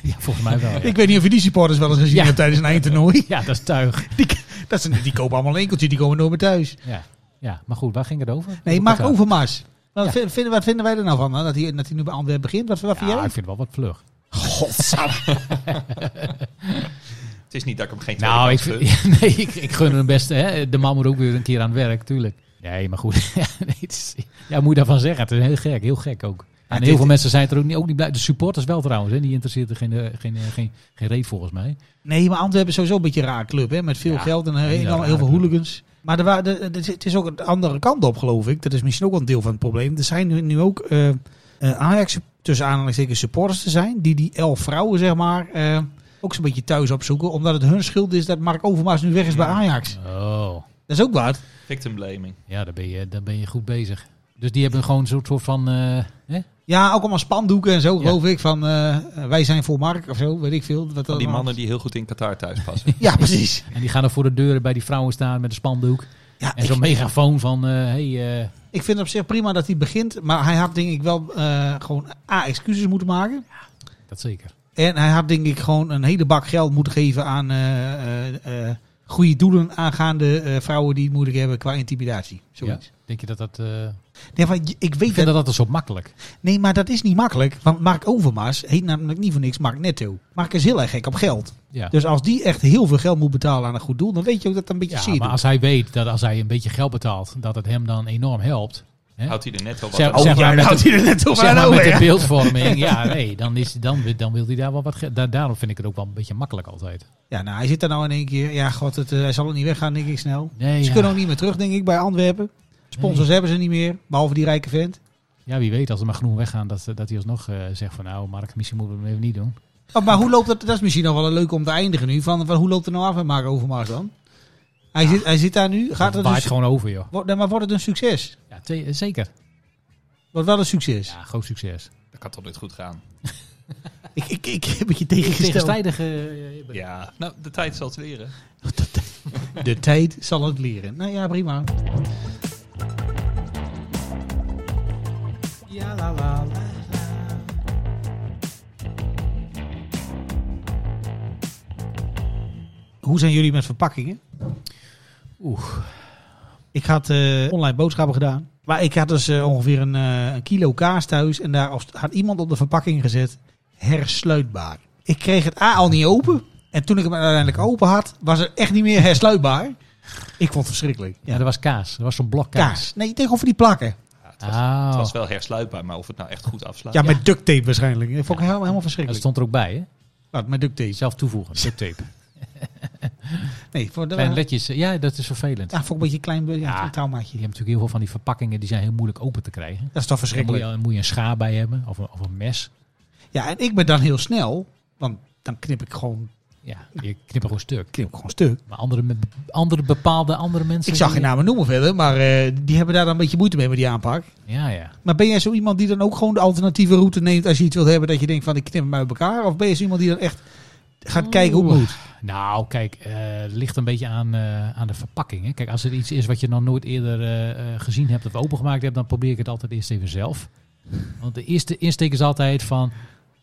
A: ja, volgens mij wel. Ja,
E: Ik weet niet of je die supporters wel eens gezien
A: Ja.
E: hebt
A: [laughs]
E: tijdens een eindtoernooi.
A: Ja, dat is tuig.
E: Die, dat zijn, die kopen allemaal een enkeltje, die komen nooit meer thuis.
A: Ja. ja, maar goed, waar ging het over?
E: Nee,
A: Over
E: Mark
A: Qatar.
E: Overmars. Want Wat,
A: Ja.
E: vind- vinden, wat vinden wij er nou van? hè? Dat hij, dat hij nu bij Antwerpen begint? Wat, wat
A: Ja,
E: vind jij?
A: ik vind het wel wat vlug.
B: Het is niet dat ik hem geen tweede
A: Nou, ik,
B: kans gun.
A: vind- [laughs] nee, ik, ik gun hem best. Hè. De man moet ook weer een keer aan het werk, tuurlijk. Nee, maar goed. [laughs] Ja, nee, het is- ja, moet je daarvan zeggen. Het is heel gek, heel gek ook. En heel
E: dit-
A: veel mensen zijn het er ook niet, ook niet blij. De supporters wel trouwens, hè. die interesseert er geen, eh, geen, eh, geen, geen reet volgens mij.
E: Nee, maar Antwerpen is sowieso een beetje een raar club. Hè? Met veel
A: Ja,
E: geld en eh,
A: een hele
E: enorm
A: rare
E: heel veel
A: club.
E: hooligans. Maar er waren, er- er- het is ook de andere kant op, geloof ik. Dat is misschien ook wel een deel van het probleem. Er zijn nu- nu ook eh, eh, Ajax, tussen aanhalingstekens, supporters te zijn. Die die elf vrouwen, zeg maar, eh, ook zo'n beetje thuis opzoeken. Omdat het hun schuld is dat Mark Overmars nu weg is bij Ajax.
A: Oh,
E: Dat is ook wat.
B: Victim blaming.
A: ja, daar ben je, daar ben je goed bezig. Dus die hebben gewoon een soort soort van... eh, hè?
E: Ja, ook allemaal spandoeken en zo,
A: Ja.
E: geloof ik. Van eh, wij zijn voor Mark of zo, weet ik veel. Wat
B: Van
E: dat
B: die
E: allemaal-
B: mannen die heel goed in Qatar thuis passen.
E: [laughs] Ja, precies.
A: En die gaan er voor de deuren bij die vrouwen staan met een spandoek.
E: Ja,
A: En zo'n
E: ik-
A: megafoon van... eh, hey, eh,
E: Ik vind het op zich prima dat hij begint. Maar hij had denk ik wel eh, gewoon A, excuses moeten maken.
A: dat zeker.
E: En hij had denk ik gewoon een hele bak geld moeten geven aan eh, eh, eh, goede doelen aangaande eh, vrouwen die het moeilijk hebben qua intimidatie.
A: Ja.
E: Zoiets.
A: Denk je dat dat... eh,
E: Nee, maar je- ik
A: ik
E: weet
A: vind
E: dat,
A: dat altijd zo makkelijk.
E: nee, maar dat is niet makkelijk. Want Mark Overmars heet namelijk niet voor niks Mark Netto. Mark is heel erg gek op geld.
A: Ja.
E: Dus als die echt heel veel geld moet betalen aan een goed doel, dan weet je ook dat dat een beetje
A: Ja,
E: zeer
A: maar
E: doet.
A: als hij weet dat als hij een beetje geld betaalt, dat het hem dan enorm helpt.
B: Houdt hij er net wel wat
A: Zeg-
B: aan?
A: zeg maar met de-
E: hij er net op
A: Zeg
E: aan
A: maar
E: over,
A: met de
E: ja.
A: beeldvorming, ja, nee, dan, is, dan, wil- dan wil hij daar wel wat geld. daar- daarom vind ik het ook wel een beetje makkelijk altijd.
E: Ja, nou, hij zit daar nou in één keer. Ja, god, het, eh, hij zal er niet weggaan, denk ik snel.
A: Nee,
E: Ze
A: ja.
E: kunnen ook niet meer terug, denk ik, bij Antwerpen. Sponsors hebben ze niet meer, behalve die rijke vent.
A: ja, wie weet, als er maar genoeg weggaan, dat, dat hij alsnog eh, zegt van nou, Mark, misschien moeten we hem even niet doen.
E: Oh, maar hoe loopt dat? Dat is misschien nog wel een leuk om te eindigen nu. Van, van hoe loopt het nou af met Mark Overmars dan? Hij, zit, hij zit daar nu. Gaat
A: Gaat
E: het
A: het
E: een
A: waait
E: su-
A: gewoon over, joh.
E: wordt, nee, maar wordt het een succes?
A: Ja, twee- eh, zeker.
E: Wordt wel een succes.
A: Ja, groot succes.
B: Dat kan toch niet goed gaan?
E: Ik, ik, ik heb het je tegengesteld.
A: Tegenstrijdige. eh,
B: Ja, nou, de tijd zal het leren.
E: De tijd zal het leren. Nou ja, prima. Ja, la, la, la, la. Hoe zijn jullie met verpakkingen?
A: Oeh.
E: Ik had eh, online boodschappen gedaan. Maar ik had dus eh, ongeveer een, eh, een kilo kaas thuis. En daar als- had iemand op de verpakking gezet. Hersluitbaar. Ik kreeg het A al niet open. En toen ik hem uiteindelijk open had, was het echt niet meer hersluitbaar. Ik vond het verschrikkelijk.
A: Ja, dat was kaas. Dat was zo'n blok
E: Kaas.
A: kaas.
E: Nee, tegenover die plakken.
B: Ja, het, was, het
A: Ah,
B: was wel hersluitbaar, maar of het nou echt goed afslaat.
E: Oh. Ja, met duct tape waarschijnlijk. Dat vond ik helemaal, helemaal
A: dat
E: verschrikkelijk.
A: stond er ook bij, hè?
E: Wat, met duct tape.
A: Zelf toevoegen. Duct tape.
E: Nee, voor de,
A: Kleine
E: ja,
A: letjes. eh, Ja, dat is vervelend.
E: vond ik een beetje een klein be- ja,
A: Ja.
E: een traumaatje.
A: Je hebt natuurlijk heel veel van die verpakkingen die zijn heel moeilijk open te krijgen.
E: Dat is toch
A: Daar moet
E: verschrikkelijk.
A: je, moet je een schaar bij hebben of een, of een mes.
E: Ja, en ik ben dan heel snel. Want dan knip ik gewoon,
A: Ja, je knipt er gewoon stuk.
E: knip ik gewoon stuk.
A: Maar andere, me- andere bepaalde andere mensen.
E: Ik zag
A: die-
E: geen namen noemen verder, maar eh, die hebben daar dan een beetje moeite mee met die aanpak.
A: Ja, ja.
E: Maar ben jij zo iemand die dan ook gewoon de alternatieve route neemt als je iets wilt hebben dat je denkt van ik knip hem uit elkaar? Of ben je zo iemand die dan echt gaat kijken hoe het
A: Oeh.
E: moet?
A: Nou, kijk, eh, het ligt een beetje aan, eh, aan de verpakking. Hè. Kijk, als er iets is wat je nog nooit eerder eh, eh, gezien hebt of opengemaakt hebt, dan probeer ik het altijd eerst even zelf. Want de eerste insteek is altijd van,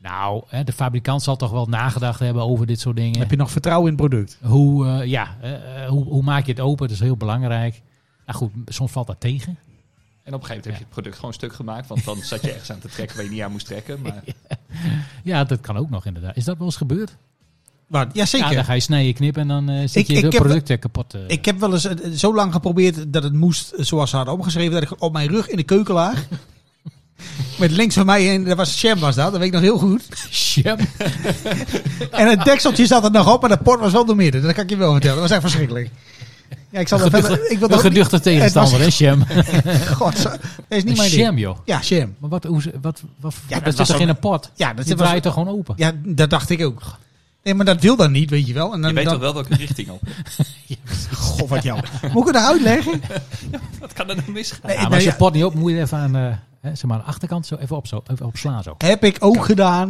A: nou, hè, de fabrikant zal toch wel nagedacht hebben over dit soort dingen.
E: Heb je nog vertrouwen in het product?
A: Hoe, eh, ja, eh, eh, hoe, hoe maak je het open? Dat is heel belangrijk. Nou goed, soms valt dat tegen.
B: En op een gegeven moment heb je het product gewoon stuk gemaakt, want dan zat je ergens aan te trekken waar je niet aan moest trekken. Maar
A: Ja, dat kan ook nog inderdaad. Is dat wel eens gebeurd?
E: Maar, ja, zeker.
A: Ja, dan ga je snijden, knippen en dan eh
E: Ik-
A: zit je
E: ik
A: de
E: heb-
A: producten kapot. eh.
E: Ik heb wel eens eh, zo lang geprobeerd dat het moest eh, zoals ze hadden opgeschreven. Dat ik op mijn rug in de keuken
A: [laughs]
E: laag. Met links van mij, en dat was Sham was dat, dat weet ik nog heel goed.
A: [laughs] Jam.
E: En het dekseltje zat er nog op, maar de port was wel door midden. Dat kan ik je wel vertellen, dat was echt verschrikkelijk. Ja, ik zal er verder...
A: Een
E: Ik wil er ook niet-
A: geduchte tegenstander, hè, Jam?
E: God, zo- dat is [laughs] niet mijn ding.
A: [laughs] Jam, joh.
E: Ja, Sham.
A: Maar wat, hoe, ze- wat, wat,
E: Ja, dat
A: dat
E: was
A: zit toch in een pot?
E: Ja, dat
A: Die
E: was-
A: draait er gewoon open.
E: Ja, dat dacht ik ook. Nee, maar dat wil dan niet, weet je wel. En dan,
B: je weet
E: dan,
B: toch wel welke richting op.
E: Goh, wat jou. Moet ik het
A: [laughs]
E: nou uitleggen?
B: Wat kan er nou misgaan?
E: Nee,
A: Ja, maar
E: nou
A: als je
E: ja,
A: pot niet op, moet je er even aan eh, hè, zeg maar, aan de achterkant zo even, op, zo, even opslaan. Zo.
E: heb ik ook gedaan.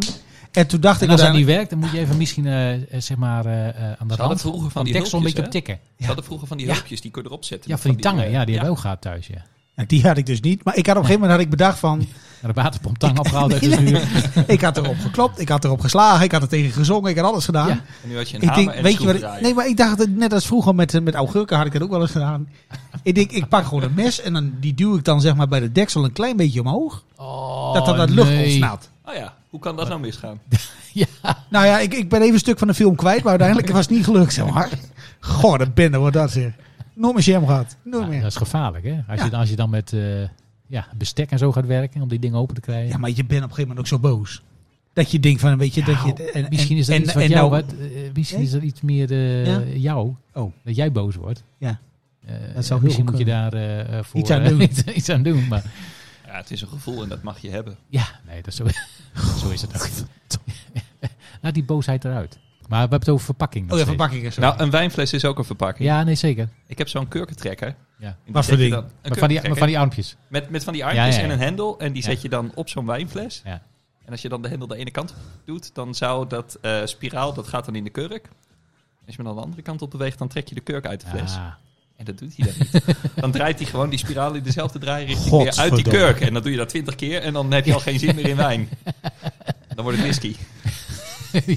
E: En toen dacht
A: En
E: ik
A: als dat
E: uiteindelijk-
A: niet werkt, dan moet je even misschien eh, eh, zeg maar, eh, eh, aan de
B: hadden
A: rand
B: vroeger van
A: van
B: die
A: deksel een
B: hulpjes,
A: beetje op
B: hè?
A: tikken.
B: Ze hadden vroeger van die
A: Ja.
B: hulpjes die kun je erop zetten.
A: Ja, van die tangen.
B: eh,
A: Ja, die hebben we ook gehad thuis. Ja.
E: Ja, die had ik dus niet. Maar ik had op een gegeven moment had ik bedacht van...
A: Ja, de waterpomp tang
B: [laughs]
A: opgehaald uit de muur.
E: ik had erop geklopt, ik had erop geslagen, ik had er tegen gezongen, ik had alles gedaan.
A: Ja.
B: En nu had je een
E: Ik
B: hamer
E: denk,
B: en
E: weet je wat? ik-
B: schroevendraaier.
E: Nee, maar ik dacht het net als vroeger met, eh, met augurken had ik dat ook wel eens gedaan. ik denk, ik pak gewoon een mes en dan, die duw ik dan zeg maar bij de deksel een klein beetje omhoog. dat dan uit lucht
A: nee.
E: ontsnapt.
B: Oh ja, hoe kan dat nou misgaan?
E: Nou ja, ik, ik ben even een stuk van de film kwijt, maar uiteindelijk was het niet gelukt, zeg maar. Goh, de bende wordt dat zeg. Nooit meer jam gehad. Nooit
A: Ja,
E: meer.
A: dat is gevaarlijk, hè? Als,
E: Ja.
A: je, dan- als je dan met eh, ja, bestek en zo gaat werken om die dingen open te krijgen.
E: Ja, maar je bent op een gegeven moment ook zo boos. Dat je denkt van, weet je, dat je... het- nou, en-
A: Nou, misschien
E: en-
A: is dat
E: en-
A: iets wat
E: en
A: jou,
E: nou-
A: wat, eh, misschien is dat iets meer eh,
E: Ja?
A: jou,
E: Oh.
A: dat jij boos wordt.
E: Ja.
A: Eh,
E: Dat zou heel
A: misschien
E: goed
A: moet je daar eh, eh, voor
E: Iets aan
A: eh,
E: doen.
A: iets, [laughs] iets aan doen. Maar
B: Ja, het is een gevoel en dat mag je hebben.
A: ja, nee, dat is zo, [laughs] zo is
E: [laughs]
A: het ook. Laat die boosheid eruit. Maar we hebben het over verpakking. nog
E: Oh ja,
A: steeds.
E: verpakking is zo.
B: Nou, een wijnfles is ook een verpakking.
A: Ja, nee, zeker.
B: Ik heb zo'n kurkentrekker.
A: Ja.
B: En die
E: Wat
B: zet
E: voor
B: je
E: ding?
B: dan- een
A: Maar van, die, maar
B: kurkentrekker.
A: van die armpjes.
B: Met, met van die armpjes
A: Ja, ja, ja.
B: en een hendel. En die
A: Ja.
B: zet je dan op zo'n wijnfles.
A: Ja.
B: En als je dan de hendel de ene kant op doet, dan zou dat eh, spiraal, dat gaat dan in de kurk. Als je hem dan de andere kant op beweegt, dan trek je de kurk uit de fles.
A: Ah. [laughs]
B: En dat doet hij dan niet. Dan draait hij gewoon die spiraal in dezelfde draairichting weer uit
E: Godverdomme.
B: die kurk. En dan doe je dat twintig keer en dan heb je al geen zin meer in wijn. Dan wordt het whisky.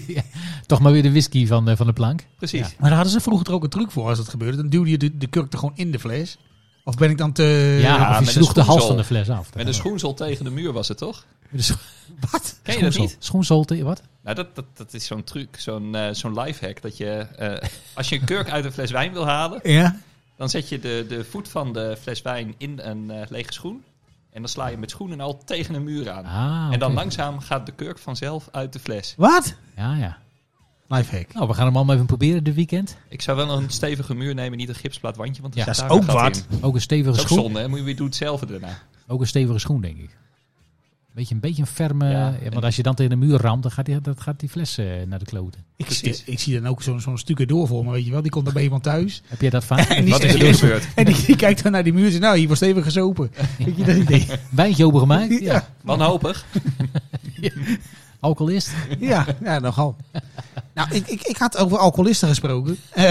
A: Ja, Toch maar weer de whisky van, eh, van de plank.
B: Precies.
E: Maar daar hadden ze vroeger ook een truc voor als dat gebeurde. Dan duwde je de, de kurk er gewoon in de fles. Of ben ik dan te...
A: ja,
B: met
A: of je
B: een
A: sloeg de hals
B: schoenzol.
A: van de fles af.
B: Met een schoenzol tegen de muur was het toch?
A: Met een scho-
E: Wat?
B: Ken je dat
A: schoenzol.
B: niet?
A: Schoenzolte, wat?
B: Nou, dat, dat, dat is zo'n truc, zo'n eh zo'n lifehack. Dat je, eh, als je een kurk uit een fles wijn wil halen,
E: Ja?
B: dan zet je de, de voet van de fles wijn in een eh, lege schoen. En dan sla je met schoenen al tegen een muur aan.
A: Ah,
B: En dan
A: oké.
B: langzaam gaat de kurk vanzelf uit de fles.
E: Wat?
A: Ja, ja.
E: Lifehack.
A: Nou, we gaan hem allemaal even proberen dit weekend.
B: Ik zou wel een stevige muur nemen, niet een gipsplaat wandje. Want
A: Ja,
B: er zit
E: dat is
B: daar een
E: ook
B: gat
E: wat.
B: in.
A: Ook een stevige
B: Dat is ook
A: schoen.
B: zonde, hè? Moet je weer doen hetzelfde daarna.
A: Ook een stevige schoen, denk ik. Beetje, een beetje een ferme...
B: Ja,
A: ja, want
B: en-
A: als je dan tegen de muur ramt, dan gaat die, dat gaat die fles eh, naar de kloten.
E: Ik zie,
B: Precies.
E: ik zie dan ook zo'n zo'n stukje door voor me, weet je wel. Die komt dan bij iemand thuis.
A: Heb jij dat
E: [laughs]
A: vaak?
E: En die,
B: Wat is er
E: en die- [laughs]
B: gebeurd?
E: en die, die kijkt dan naar die muur en zegt, nou, hier was stevig gesopen. Weet je dat idee?
A: Wijntje open gemaakt? Ja.
E: Ja.
B: Wanhopig.
A: Alcoholist?
E: [laughs] Ja, ja nogal. Nou, ik, ik, ik had over alcoholisten gesproken. Eh,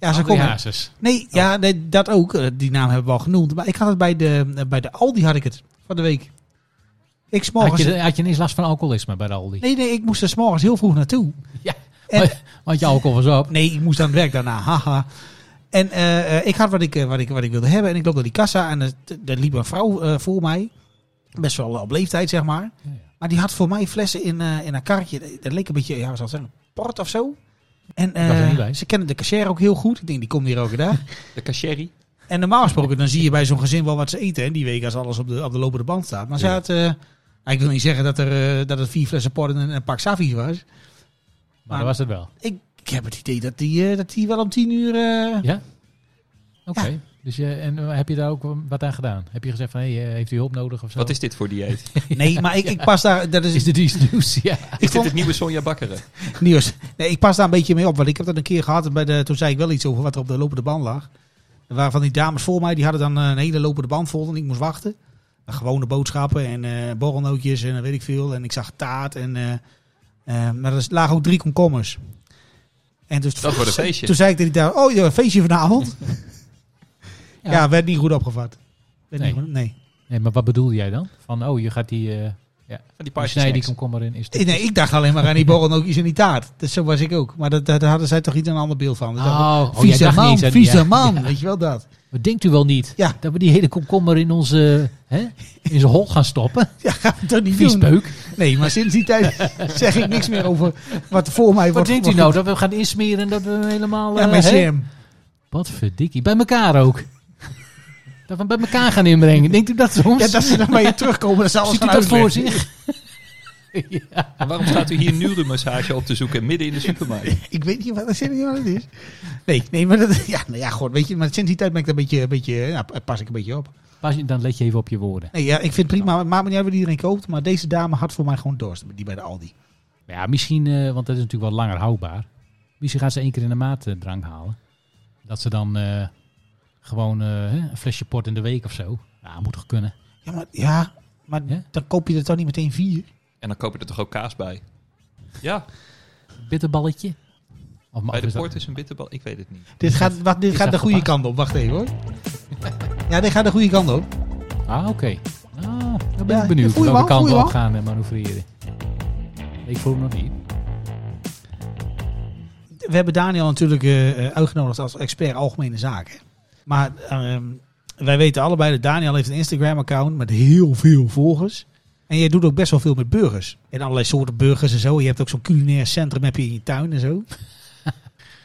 E: ja, ze komen.
A: Alcoholhases.
E: Nee, ja, nee, dat ook. Eh, Die naam hebben we al genoemd. Maar ik had het bij de, eh, bij de Aldi had ik het van de week. Ik 's
A: Had
E: morgens.
A: je, had je ineens last van alcoholisme bij de Aldi?
E: Nee, nee, ik moest er 's morgens heel vroeg naartoe.
A: Ja.
E: En,
A: Want je alcohol was op.
E: Nee, ik moest aan het werk daarna. Haha. En eh, eh, ik had wat ik, eh, wat, ik, wat ik wilde hebben. En ik loop naar die kassa. En er, er liep een vrouw eh, voor mij. Best wel eh, op leeftijd, zeg maar.
A: Ja, ja.
E: Maar die had voor mij flessen in, eh, in haar karretje. Dat leek een beetje, ja, wat zal het zijn? Port of zo. En eh,
A: was er niet bij.
E: ze kennen de cashier ook heel goed. Ik denk, die komt hier elke
A: [laughs]
E: dag.
B: De cacheri.
E: En normaal gesproken, dan zie je bij zo'n gezin wel wat ze eten. En die week als alles op de, op de lopende band staat. Maar ze had... eh, nou, ik wil niet zeggen dat, er, eh, dat het vier flessen port en een- een pak saffies was.
A: Maar dat was het wel.
E: Ik, ik heb het idee dat die, eh, dat die wel om tien
A: [laughs]
E: uur... eh,
A: Ja? Oké. Dus je, en eh, heb je daar ook wat aan gedaan? Heb je gezegd van, hé, eh, heeft u hulp nodig of zo?
B: Wat is dit voor dieet?
E: Nee, maar ik, ik pas daar... Dat is,
A: Is dit iets nieuws?
E: [laughs]
A: Ja.
B: Is dit het nieuwe Sonja Bakkeren?
E: nieuws. Nee, ik pas daar een beetje mee op. Want ik heb dat een keer gehad. En bij de, toen zei ik wel iets over wat er op de lopende band lag. Er waren van die dames voor mij. Die hadden dan eh, een hele lopende band vol. En ik moest wachten. Met Gewone boodschappen en eh borrelnootjes en eh, weet ik veel. En ik zag taart. En, eh, eh, maar er lagen ook drie komkommers. En dus
B: Dat wordt een feestje.
E: Toen zei ik tegen die dame, oh joh, een feestje
A: [laughs]
E: vanavond. ja.
A: Ja.
E: werd niet goed opgevat. Werd
A: Nee.
E: niet goed- nee.
A: Nee, maar wat bedoelde jij dan? Van, oh, je gaat die, eh
B: Van die
A: die snij die
B: party
A: komkommer in. Is dit-
E: Eh, Nee, nee, ik dacht alleen
A: [laughs]
E: maar aan die borrelnootjes en die taart. Dus zo was ik ook. Maar dat- daar daar hadden zij toch iets een ander beeld van. Dus dacht ik,
A: Oh, oh, jij
E: Vieze
A: dacht
E: man,
A: niet aan-
E: vieze
A: ja.
E: man.
A: Ja.
E: Weet je wel dat? [laughs]
A: Wat denkt u wel niet?
E: Ja.
A: Dat we die hele komkommer in onze, hè, in zijn hol gaan
E: [laughs]
A: stoppen?
E: Ja, gaan we dat niet
A: Vies
E: doen.
A: peuk.
E: Nee, maar sinds die
A: [laughs]
E: tijd zeg ik niks meer over wat er voor mij
A: Wat
E: wordt.
A: denkt u nou? Dat we gaan insmeren en dat we hem helemaal...
E: Ja,
A: eh,
E: mijn
A: hè?
E: jam.
A: Wat verdikkie. Bij elkaar ook. [laughs] dat we hem bij elkaar gaan inbrengen. Denkt u dat soms?
E: Ja, dat ze dan
A: [laughs]
E: bij je terugkomen, dat is alles
A: Ziet u
E: gaan
A: dat voor
E: uitleggen.
A: zich? ja.
B: En waarom staat u hier nurenmassage op te zoeken midden in de supermarkt?
E: Ik weet niet wat, [laughs] ik weet niet wat het is. Nee, nee, maar dat, ja, nou ja, god, weet je, maar sinds die tijd ben ik daar een beetje, een beetje, ja, pas ik een beetje op.
A: Pas je- dan let je even op je woorden.
E: Nee, ja, ik vind het prima, het maakt me niet uit wat iedereen koopt, maar deze dame had voor mij gewoon dorst, die bij de Aldi.
A: Ja, misschien, eh, want dat is natuurlijk wel langer houdbaar. Misschien gaat ze één keer in de maat eh, drank halen. Dat ze dan eh, gewoon eh, hè, een flesje port in de week of zo. Ja, moet toch kunnen.
E: Ja, maar, ja, maar
A: Ja?
E: dan koop je er toch niet meteen vier?
B: En dan koop je er toch ook kaas bij? Ja,
A: Bitterballetje. Of,
B: bij
A: of
B: de
A: is dat-
B: poort is een bitterbal. Ik weet het niet.
E: Dit gaat, wacht, dit
A: is
E: gaat de
A: dat
E: goede
A: gepast?
E: kant op, wacht even hoor. Ja, dit gaat de goede kant op.
A: Ah, oké. Nou, dan ben
E: Ja,
A: ik benieuwd
E: voel je
A: welke
E: wel,
A: kant
E: voel
A: we
E: je
A: op
E: wel.
A: gaan eh, manoeuvreren. Ik voel hem nog niet.
E: We hebben Daniel natuurlijk eh, eh, uitgenodigd als expert algemene zaken. Maar ehm, wij weten allebei dat Daniel heeft een Instagram-account met heel veel volgers. En jij doet ook best wel veel met burgers. En allerlei soorten burgers en zo. Je hebt ook zo'n culinair centrum heb je in je tuin en
A: [laughs]
E: zo.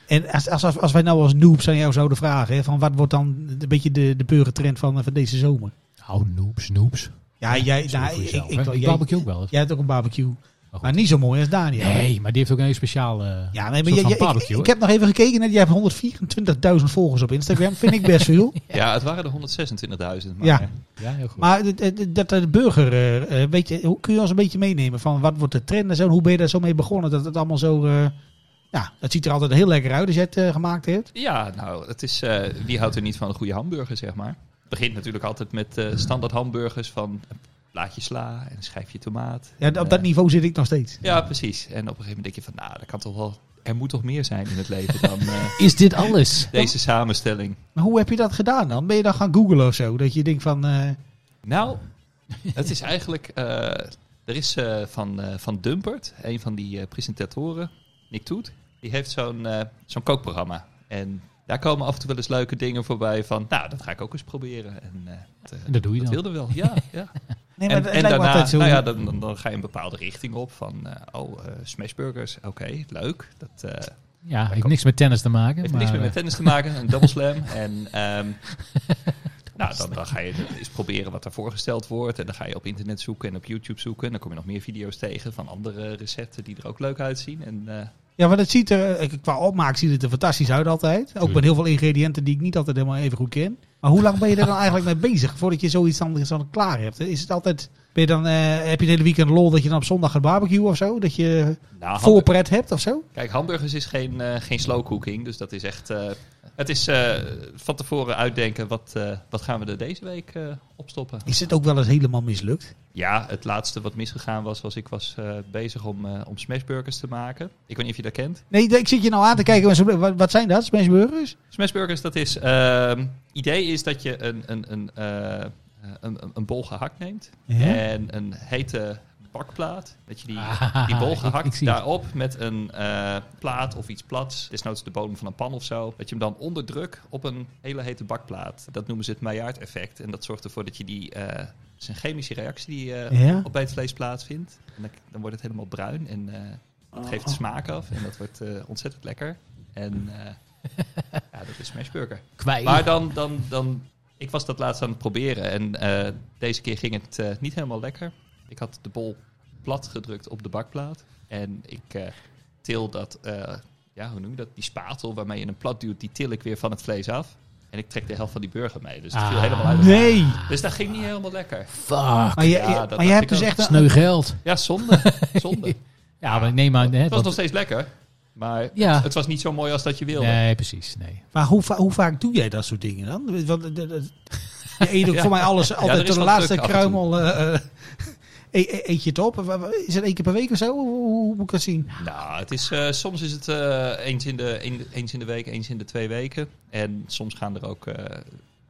E: en als, als, als, als wij nou als noobs aan jou zouden vragen, hè, van wat wordt dan een beetje de, de burgertrend van, eh, van deze zomer?
A: Oh, noobs, noobs.
E: Ja, jij,
A: Zo
E: nou,
A: voor
E: ik, ik,
A: jezelf,
E: ik,
A: hè?
E: wel-
A: Die
E: jij,
A: barbecue ook wel. eens.
E: jij hebt ook een barbecue.
A: goed.
E: Maar niet zo mooi als Daniel.
A: Nee, maar die heeft ook een heel speciaal... eh,
E: Ja, nee, maar
A: soort
E: je,
A: van
E: je- ik-
A: barbecue,
E: ik,
A: hoor.
E: heb nog even gekeken. Net, jij hebt 124.000 volgers op Instagram. Vind ik
A: [laughs]
E: best veel.
B: Ja, het waren er 126.000. Maar
E: Ja.
B: ja.
A: Ja, heel goed.
E: Maar dat- dat- dat de burger, eh, eh, weet je, hoe kun je ons een beetje meenemen van wat wordt de trend en zo? en Hoe ben je daar zo mee begonnen? Dat het allemaal zo, eh, ja, dat ziet er altijd heel lekker uit als je het eh, gemaakt hebt.
B: ja, nou, het is, eh, wie houdt er niet van een goede hamburger, zeg maar? Het begint natuurlijk altijd met eh, standaard hamburgers van een plaatje sla en een schijfje tomaat.
E: Ja, op dat
B: Eh,
E: niveau zit ik nog steeds.
B: Ja, precies. En op een gegeven moment denk je van, nou, dat kan toch wel, er moet toch meer zijn in het leven dan eh,
A: Is dit alles?
B: deze samenstelling.
E: Maar hoe heb je dat gedaan dan? Ben je dan gaan googlen of zo? Dat je denkt van, eh,
A: [laughs]
B: Nou, het is eigenlijk. eh, er is eh, van, eh, van Dumpert, een van die eh, presentatoren, Nick Toet, die heeft zo'n eh, zo'n kookprogramma. En daar komen af en toe wel eens leuke dingen voorbij van. Nou, dat ga ik ook eens proberen. En eh, dat, eh,
A: En dat doe je
B: dat
A: dan.
B: wilde wel,
A: [laughs]
B: ja. ja.
E: nee, maar
B: en
E: het
B: en
E: lijkt me
B: daarna,
E: altijd zo.
B: nou ja, dan, dan, dan ga je een bepaalde richting op van. eh, oh, eh, smashburgers, oké, leuk. Dat eh,
A: Ja, heeft niks met tennis te maken.
B: heeft
A: maar,
B: niks meer
A: eh,
B: met tennis te maken, een double
A: [laughs]
B: slam. En ehm, nou, dan, dan ga je eens proberen wat er voorgesteld wordt. En dan ga je op internet zoeken en op YouTube zoeken. En dan kom je nog meer video's tegen van andere recepten die er ook leuk uitzien. En eh,
E: Ja, maar dat ziet er, eh, qua opmaak ziet het er fantastisch uit altijd. Ook met heel veel ingrediënten die ik niet altijd helemaal even goed ken. Maar hoe lang ben je er dan eigenlijk mee bezig voordat je zoiets dan, dan klaar hebt? Is het altijd, ben je dan, eh, heb je het hele weekend lol dat je dan op zondag gaat barbecue of zo? Dat je
B: nou, hamburg-
E: voorpret hebt of zo?
B: kijk, hamburgers is geen, eh, geen slow cooking. Dus dat is echt... eh, het is eh, van tevoren uitdenken, wat, eh, wat gaan we er deze week eh, opstoppen?
E: Is het ook wel eens helemaal mislukt?
B: Ja, het laatste wat misgegaan was, was ik was eh, bezig om, eh, om smashburgers te maken. Ik weet niet of je dat kent.
E: Nee, ik zit je nou aan te kijken. maar zo- Wat, wat zijn dat? Smashburgers?
B: Smashburgers, dat is... ehm idee is dat je een, een, een, eh, een, een- een bol gehakt neemt. En een hete bakplaat. Dat je die, die
A: Ah,
B: bol
A: ik-
B: gehakt
A: ik zie het.
B: daarop met een eh, plaat of iets plats. Desnoods de bodem van een pan of zo. Dat je hem dan onder druk op een hele hete bakplaat. Dat noemen ze het Maillard effect. En dat zorgt ervoor dat je die... eh, het is een chemische reactie die eh,
E: Ja.
B: op bij het vlees plaatsvindt. En dan, dan wordt het helemaal bruin en eh het geeft
A: Oh.
B: de smaak af. En dat wordt eh, ontzettend lekker. En eh, ja, dat is smashburger.
A: kwijt.
B: Maar dan, dan, dan, ik was dat laatst aan het proberen en eh, deze keer ging het eh, niet helemaal lekker. Ik had de bol plat gedrukt op de bakplaat en ik eh, til dat, eh, ja, hoe noem je dat, die spatel waarmee je een plat duwt, die til ik weer van het vlees af. En ik trek de helft van die burger mee, dus het viel
A: Ah,
B: helemaal uit.
E: Nee.
B: Dus dat ging niet helemaal lekker.
A: eh, Fuck.
E: Maar je,
B: Ja, dat
E: maar je
B: dacht
E: hebt
B: ik
E: dus
B: ook.
E: echt een...
A: Sneu geld.
B: Ja,
A: [laughs]
B: zonde. zonde.
A: Ja, maar ik neem aan... Hè,
B: Het was
A: dat-
B: nog steeds lekker, maar
A: Ja.
B: het was niet zo mooi als dat je wilde.
A: Nee, precies. Nee.
E: Maar hoe, va- hoe vaak doe jij dat soort dingen dan? Want, eh, dat- dat- je eet
B: [laughs]
E: ook
B: Ja.
E: voor mij alles, altijd
B: er is
E: tot de
B: wat
E: laatste
B: druk af en toe.
E: kruimel. eh, [laughs] eh, e- e- eet je het op? Wa- wa- Is het één keer per week of zo? Hoe, hoe- hoe moet ik dat zien?
B: Nou, het is, eh, soms is het eh, eens, in de, een- eens in de week, eens in de twee weken. En soms gaan er ook eh,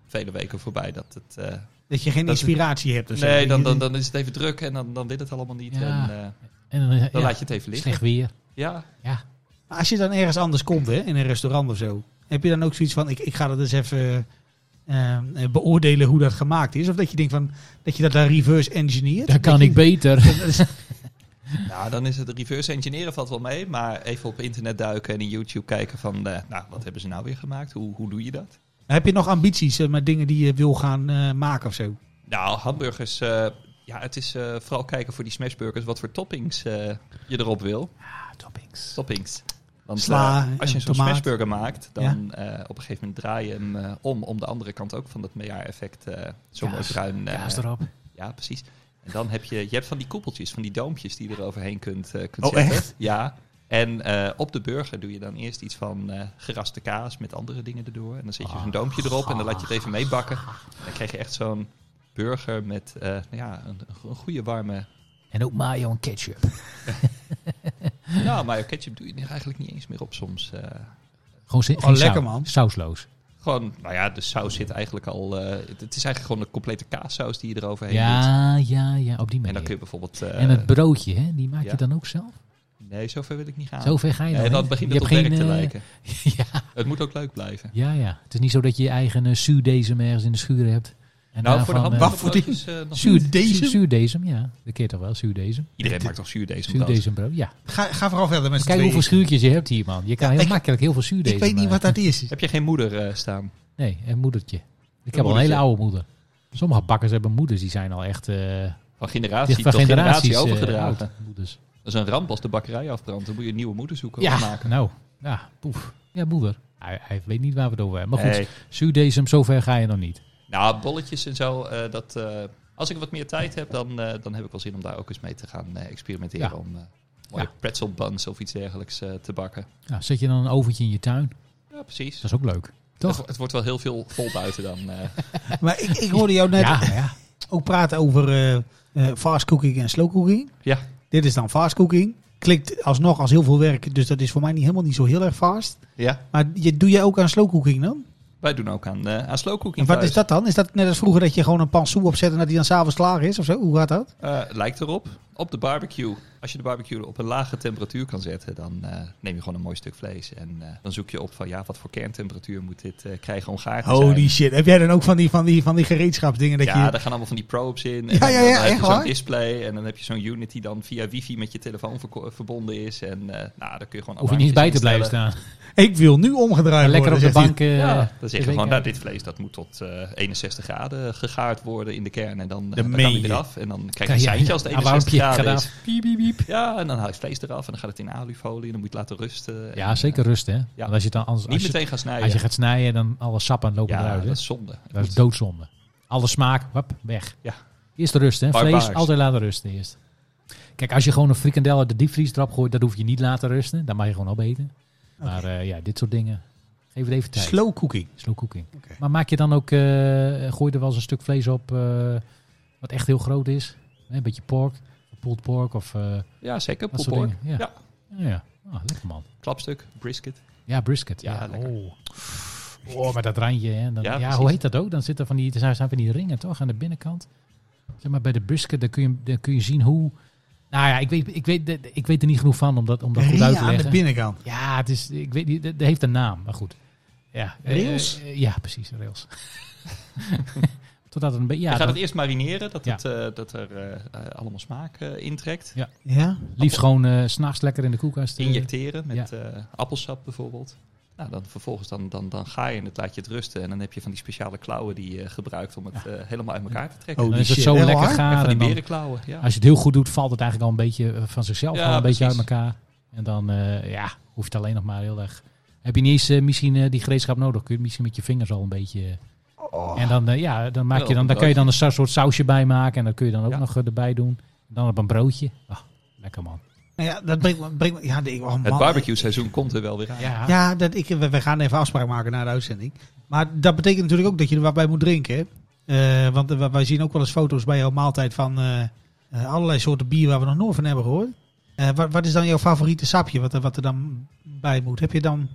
B: vele weken voorbij dat het... eh,
E: Dat je geen
B: Dat-
E: inspiratie hebt. of zo.
B: nee, dan, dan, dan is het even druk en dan, dan wil het allemaal niet.
A: Ja.
B: En, eh,
A: En dan, eh,
B: dan
A: ja,
B: laat je het even liggen.
A: slecht weer.
B: Ja,
A: Ja.
E: Maar Als je dan ergens anders komt, hè, in een restaurant of zo. Heb je dan ook zoiets van, ik, ik ga dat eens even eh, eh, beoordelen hoe dat gemaakt is? Of dat je denkt van, dat je dat daar reverse engineert?
A: Dan kan
E: Dat
A: ik
E: je-
A: beter.
B: nou, dan is het reverse engineeren valt wel mee. Maar even op internet duiken en in YouTube kijken van... eh, nou, wat hebben ze nou weer gemaakt? Hoe, hoe doe je dat?
E: Heb je nog ambities eh, met dingen die je wil gaan eh, maken of zo?
B: Nou, hamburgers. eh, ja, het is eh, vooral kijken voor die smashburgers wat voor toppings eh, je erop wil. Ah, toppings. Toppings. Want,
E: Sla
B: eh, als je
E: en
B: zo'n
E: tomaat.
B: smashburger maakt, dan eh, op een gegeven moment draai je hem eh, om. Om de andere kant ook van dat Maillard-effect. eh zo mooi
A: Kaas.
B: bruin. eh,
A: Kaas erop.
B: ja, precies. En dan heb je, je hebt van die koepeltjes, van die doompjes die je er overheen kunt, eh kunt
E: Oh,
B: zetten.
E: echt?
B: Ja. En eh, op de burger doe je dan eerst iets van eh, geraste kaas met andere dingen erdoor. En dan zet je zo'n doompje erop en dan laat je het even meebakken. En Dan krijg je echt zo'n burger met eh, nou ja, een, een goede warme...
A: En ook mayo en ketchup.
B: Nou, maar ketchup doe je er eigenlijk niet eens meer op soms. eh.
A: Gewoon zin,
E: lekker, man.
A: Sausloos.
B: Gewoon, nou ja, de saus zit eigenlijk al... eh, het, het is eigenlijk gewoon een complete kaassaus die je eroverheen doet.
A: Ja, ja, ja, op die
B: En dan kun
A: manier.
B: je bijvoorbeeld... eh,
A: En het broodje, hè, die maak
B: ja.
A: je dan ook zelf?
B: Nee, zover wil ik niet gaan.
A: Zover ga je dan.
B: en
A: hè?
B: dan begint het
A: Je
B: op
A: hebt
B: werk te
A: geen, eh,
B: lijken.
A: [laughs] ja,
B: Het moet ook leuk blijven.
A: ja, ja. Het is niet zo dat je je eigen uh, zuurdesem ergens in de schuur hebt. En
B: Nou, voor de hand
A: daarvan, eh,
E: Wacht voor die-
B: broodjes, eh, nog niet.
A: Zuurdesem?
E: Zuurdesem?
A: Zuurdesem, ja. Dat keert toch wel, zuurdesem.
B: Iedereen maakt toch zuurdees om dat?
A: Zuurdesembrood, ja.
E: Ga, ga vooral verder met z'n
A: Kijk hoeveel
E: tweeën.
A: schuurtjes je hebt hier, man. Je kan heel
E: ik-
A: makkelijk heel veel zuurdesem
E: Ik weet niet wat
A: maken.
E: dat is.
B: Heb je geen moeder eh, staan?
A: Nee, een moedertje. Ik heb al een
B: moedertje.
A: hele oude moeder. Sommige bakkers hebben moeders, die zijn al echt... eh
B: Van generatie
A: van
B: tot generatie
A: generaties eh,
B: overgedragen.
A: oud, moeders.
B: dat is een ramp als de bakkerij afbrandt. Dan moet je een nieuwe moeder zoeken.
A: Ja,
B: of maken.
A: nou. Ja, poef. Ja, moeder. Hij, hij weet niet waar we het over hebben. Maar goed,
B: Nee.
A: zuurdesem, zover ga je nog niet.
B: Nou, bolletjes en zo. eh, dat, eh, als ik wat meer tijd heb, dan, eh, dan heb ik wel zin om daar ook eens mee te gaan eh, experimenteren.
A: Ja.
B: Om eh mooie
A: Ja.
B: pretzel buns of iets dergelijks eh, te bakken.
A: Nou, zet je dan een oventje in je tuin?
B: Ja, precies.
A: Dat is ook leuk. Toch?
B: Het, het wordt wel heel veel vol buiten dan.
A: [laughs]
B: eh.
E: Maar ik, ik hoorde jou net
A: Ja,
B: Oh,
A: ja.
E: ook praten over eh, eh, fast cooking en slow cooking.
B: ja,
E: Dit is dan fast cooking. Klinkt alsnog als heel veel werk, dus dat is voor mij niet, helemaal niet zo heel erg fast.
B: ja,
E: Maar je, doe jij ook aan slow cooking dan?
B: wij doen ook aan, eh aan slow cooking
E: En wat
B: thuis.
E: is dat dan? Is dat net als vroeger dat je gewoon een pan soep opzet en dat die dan s'avonds klaar is? Of zo? Hoe gaat dat?
B: Eh, lijkt erop. Op de barbecue. Als je de barbecue op een lage temperatuur kan zetten, dan eh, neem je gewoon een mooi stuk vlees. En eh, dan zoek je op van ja, wat voor kerntemperatuur moet dit eh, krijgen om gaar te zijn.
E: shit. Heb jij dan ook van die, van die, van die gereedschapsdingen dat
B: ja,
E: je...
B: daar gaan allemaal van die probes in. En
E: Ja,
B: dan-
E: ja, ja,
B: dan heb
E: echt
B: je zo'n
E: waar?
B: display en dan heb je zo'n unit die dan via wifi met je telefoon verko- verbonden is. En eh, nou, daar kun je gewoon
A: Hoef je niet bij te
B: alarmpjes
A: blijven
B: instellen.
A: staan.
E: Ik wil nu omgedraaid
A: Lekker op
E: worden,
A: de
E: zegt hij.
A: bank. eh,
B: Ja, dan zeg je
A: tv
B: gewoon, nou,
A: kijken.
B: dit vlees dat moet tot eh, 61 graden gegaard worden in de kern. En dan, eh,
E: Dat
B: dan
E: meen
B: kan die
E: je.
B: eraf. En dan krijg je
A: Krijg
B: een
A: je
B: seintje als het
A: een
B: 61
A: alarmpje
B: graden is.
A: gedaan.
B: Ja, en dan haal je het vlees eraf en dan gaat het in alufolie en dan moet je het laten rusten.
A: Ja,
B: En,
A: zeker rust, hè? Want als je het dan anders,
B: eh, Niet
A: als, je,
B: meteen gaan snijden.
A: als je gaat snijden, dan alle sappen lopen
B: ja,
A: eruit. Hè?
B: dat
A: Dat,
B: is zonde. Het
A: is doodzonde. Alle smaak, wap, weg.
B: Ja.
A: Eerst de rust, hè?
B: Barbaars.
A: Vlees, altijd laten rusten eerst. Kijk, als je gewoon een frikandel uit de diepvries erop gooit, dat hoef je niet laten rusten. Dan mag je gewoon opeten. Maar eh, ja, dit soort dingen. Geef het even tijd.
E: Slow cooking.
A: Slow cooking.
E: Oké.
A: Maar maak je dan ook, eh, gooi er wel eens een stuk vlees op, eh, wat echt heel groot is. Hè, Een beetje pork, pulled pork of eh,
B: moet- ja, zeker.
A: dat soort
B: Poelborg.
A: dingen. Ja.
B: Ja.
A: Ja, ja. Ah, lekker man.
B: Klapstuk, brisket.
A: Ja, brisket.
B: Ja,
A: Ja,
B: lekker.
A: oh. oh, maar dat randje. Hè. Dan,
B: Ja,
A: ja,
B: precies.
A: hoe heet dat ook? Dan zitten van die, er zijn zijn van die ringen toch aan de binnenkant. Zeg maar bij de brisket, dan kun je, dan kun je zien hoe... Nou ja, ik weet, ik, weet, ik weet er niet genoeg van om dat, om dat goed uit
E: Ringen
A: te
E: aan de
A: leggen.
E: binnenkant.
A: Ja, het is, ik weet niet, het heeft een naam, maar goed. Ja, eh,
E: Rails?
A: eh, ja, precies, rails. [laughs] Totdat het een beetje...
B: je
A: Ja,
B: gaat
A: dan-
B: het eerst marineren, dat,
A: Ja.
B: het, eh, dat er eh, eh, allemaal smaak eh, intrekt.
E: Ja?
A: liefst gewoon eh, 's s'nachts lekker in de koelkast. eh,
B: Injecteren met eh, appelsap bijvoorbeeld. Nou, dan vervolgens dan, dan, dan ga je en het laat je het rusten. En dan heb je van die speciale klauwen die je gebruikt om het eh, helemaal uit elkaar te trekken.
E: Oh,
A: dan
E: die
A: is eh, het
E: shit.
A: zo
E: Echt
A: lekker
E: waar?
A: gaar.
B: en van die
A: en dan-
B: berenklauwen, ja.
A: Als je het heel goed doet, valt het eigenlijk al een beetje eh, van zichzelf
B: Ja,
A: al een beetje uit
B: precies.
A: elkaar. En dan eh, ja, hoef je het alleen nog maar heel erg. Heb je niet eens eh, misschien eh, die gereedschap nodig? Kun je het misschien met je vingers al een beetje. En dan, eh, ja, dan, maak
B: Ja,
A: je
B: op
A: dan,
B: een
A: dan kun je dan een sa- soort sausje bij maken. En dat kun je dan ook
B: Ja.
A: nog eh, erbij doen. Dan op een broodje. Ah, lekker man.
E: Nou ja, dat brengt me... Brengt me ja, de- oh,
B: Het
E: man.
B: barbecue seizoen komt er wel weer aan.
A: Ja,
E: Ja, dat ik, we, we gaan even afspraak maken na de uitzending. Maar dat betekent natuurlijk ook dat je er wat bij moet drinken. hè? Eh, want eh, wij zien ook wel eens foto's bij jouw maaltijd van eh, eh, allerlei soorten bier waar we nog nooit van hebben gehoord. Eh, wat, wat is dan jouw favoriete sapje wat er, wat er dan bij moet? Heb je dan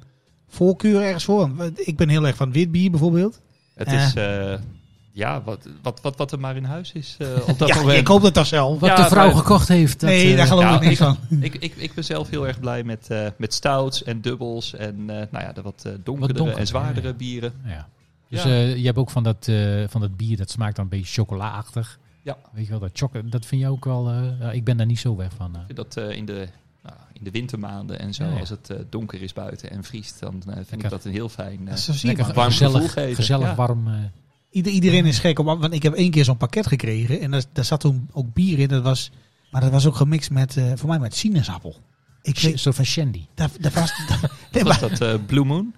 E: voorkeur ergens voor? Want, eh, Ik ben heel erg van wit bier bijvoorbeeld.
B: Het
E: Eh.
B: is, eh, ja, wat, wat, wat, wat er maar in huis is eh,
E: [laughs]
B: op dat
E: ja,
B: moment.
E: ik hoop dat dat zelf.
A: Wat
B: Ja,
A: de vrouw
B: maar-
A: gekocht heeft. Dat,
E: nee,
A: eh,
E: daar geloof
B: ja,
E: ik niks
B: ik-
E: van.
B: Ik, ik, ik ben zelf heel erg blij met, eh, met stouts en dubbels en eh, nou ja, de wat eh, donkerdere
A: donkerder,
B: en zwaardere
A: ja.
B: bieren.
A: ja. Dus
B: Ja.
A: eh, je hebt ook van dat, eh, van dat bier, dat smaakt dan een beetje chocolaachtig.
B: Ja.
A: Weet je wel, dat, choc- dat vind je ook wel... eh, ja, ik ben daar niet zo weg van. eh.
B: Ik vind dat eh, in, de, nou, in de wintermaanden en zo,
A: Ja, ja.
B: als het eh, donker is buiten en vriest, dan eh, vind ik
A: Lekker.
B: dat een heel fijn... eh,
E: Zo zie je
A: lekker
E: maar.
B: warm gevoel
A: gezellig,
B: geven,
A: gezellig
B: ja.
A: warm... eh,
E: Ieder- iedereen is gek op. Want ik heb één keer zo'n pakket gekregen. En daar, daar zat toen ook bier in. Dat was, maar dat was ook gemixt met, eh, voor mij, met sinaasappel. Ik
A: Een
E: weet-
A: soort van shandy.
E: Daar, daar was, [laughs] daar- nee,
B: was
E: maar,
B: dat eh, Blue Moon?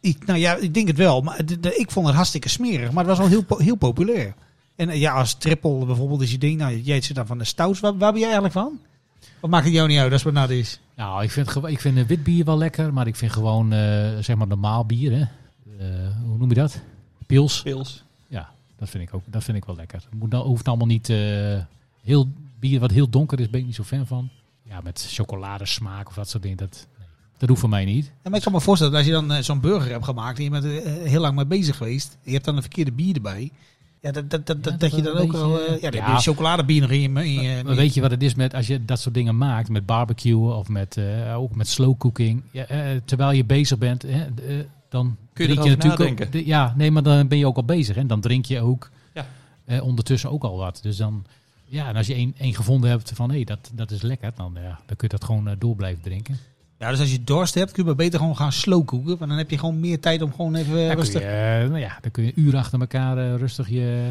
E: ik, nou ja, ik denk het wel. Maar de- de- ik vond het hartstikke smerig. Maar het was wel heel, po- heel populair. En eh, ja, als triple bijvoorbeeld is je ding. Nou, jij zit dan van de stouts. Waar, waar ben jij eigenlijk van? Wat maakt het jou niet uit als het nat is?
A: Nou, ik vind, gewo- ik vind eh, wit bier wel lekker, maar ik vind gewoon eh, zeg maar normaal bier. Hè. Eh, hoe noem je dat? Pils.
B: Pils.
A: Ja, dat vind ik ook. Dat vind ik wel lekker. Het moet, nou- hoeft allemaal niet eh, heel bier wat heel donker is, ben ik niet zo fan van. Ja, met chocoladesmaak of dat soort dingen. Dat, nee. Dat hoeft van mij niet.
E: Ja, maar ik kan me voorstellen dat als je dan eh, zo'n burger hebt gemaakt en je bent er eh, heel lang mee bezig geweest, je hebt dan een verkeerde bier erbij. Ja, dat, dat, dat, dat,
A: dat
E: je dan
A: een
E: ook wel.
A: beetje-
E: eh, ja, dan
A: Ja.
E: heb je chocoladebier nog in je. in je- in
A: Maar
E: je-
A: weet je wat het is met als je dat soort dingen maakt met barbecue of met eh, ook met slow cooking, ja, eh, terwijl je bezig bent, hè, d- eh, dan
B: Kun je
A: drink
B: erover
A: natuurlijk ook-
B: nadenken.
A: d- ja, nee, maar dan ben je ook al bezig en dan drink je ook
B: Ja.
A: eh, ondertussen ook al wat. Dus dan, ja, en als je één, één gevonden hebt van hé, dat, dat is lekker, dan, ja, dan kun je dat gewoon eh, door blijven drinken.
E: Ja, dus als je dorst hebt, kun je maar beter gewoon gaan slowkoeken. Want dan heb je gewoon meer tijd om gewoon even
A: Dan
E: eh,
A: kun, je,
E: rustig.
A: eh, nou ja, dan kun je een uur achter elkaar eh, rustig je,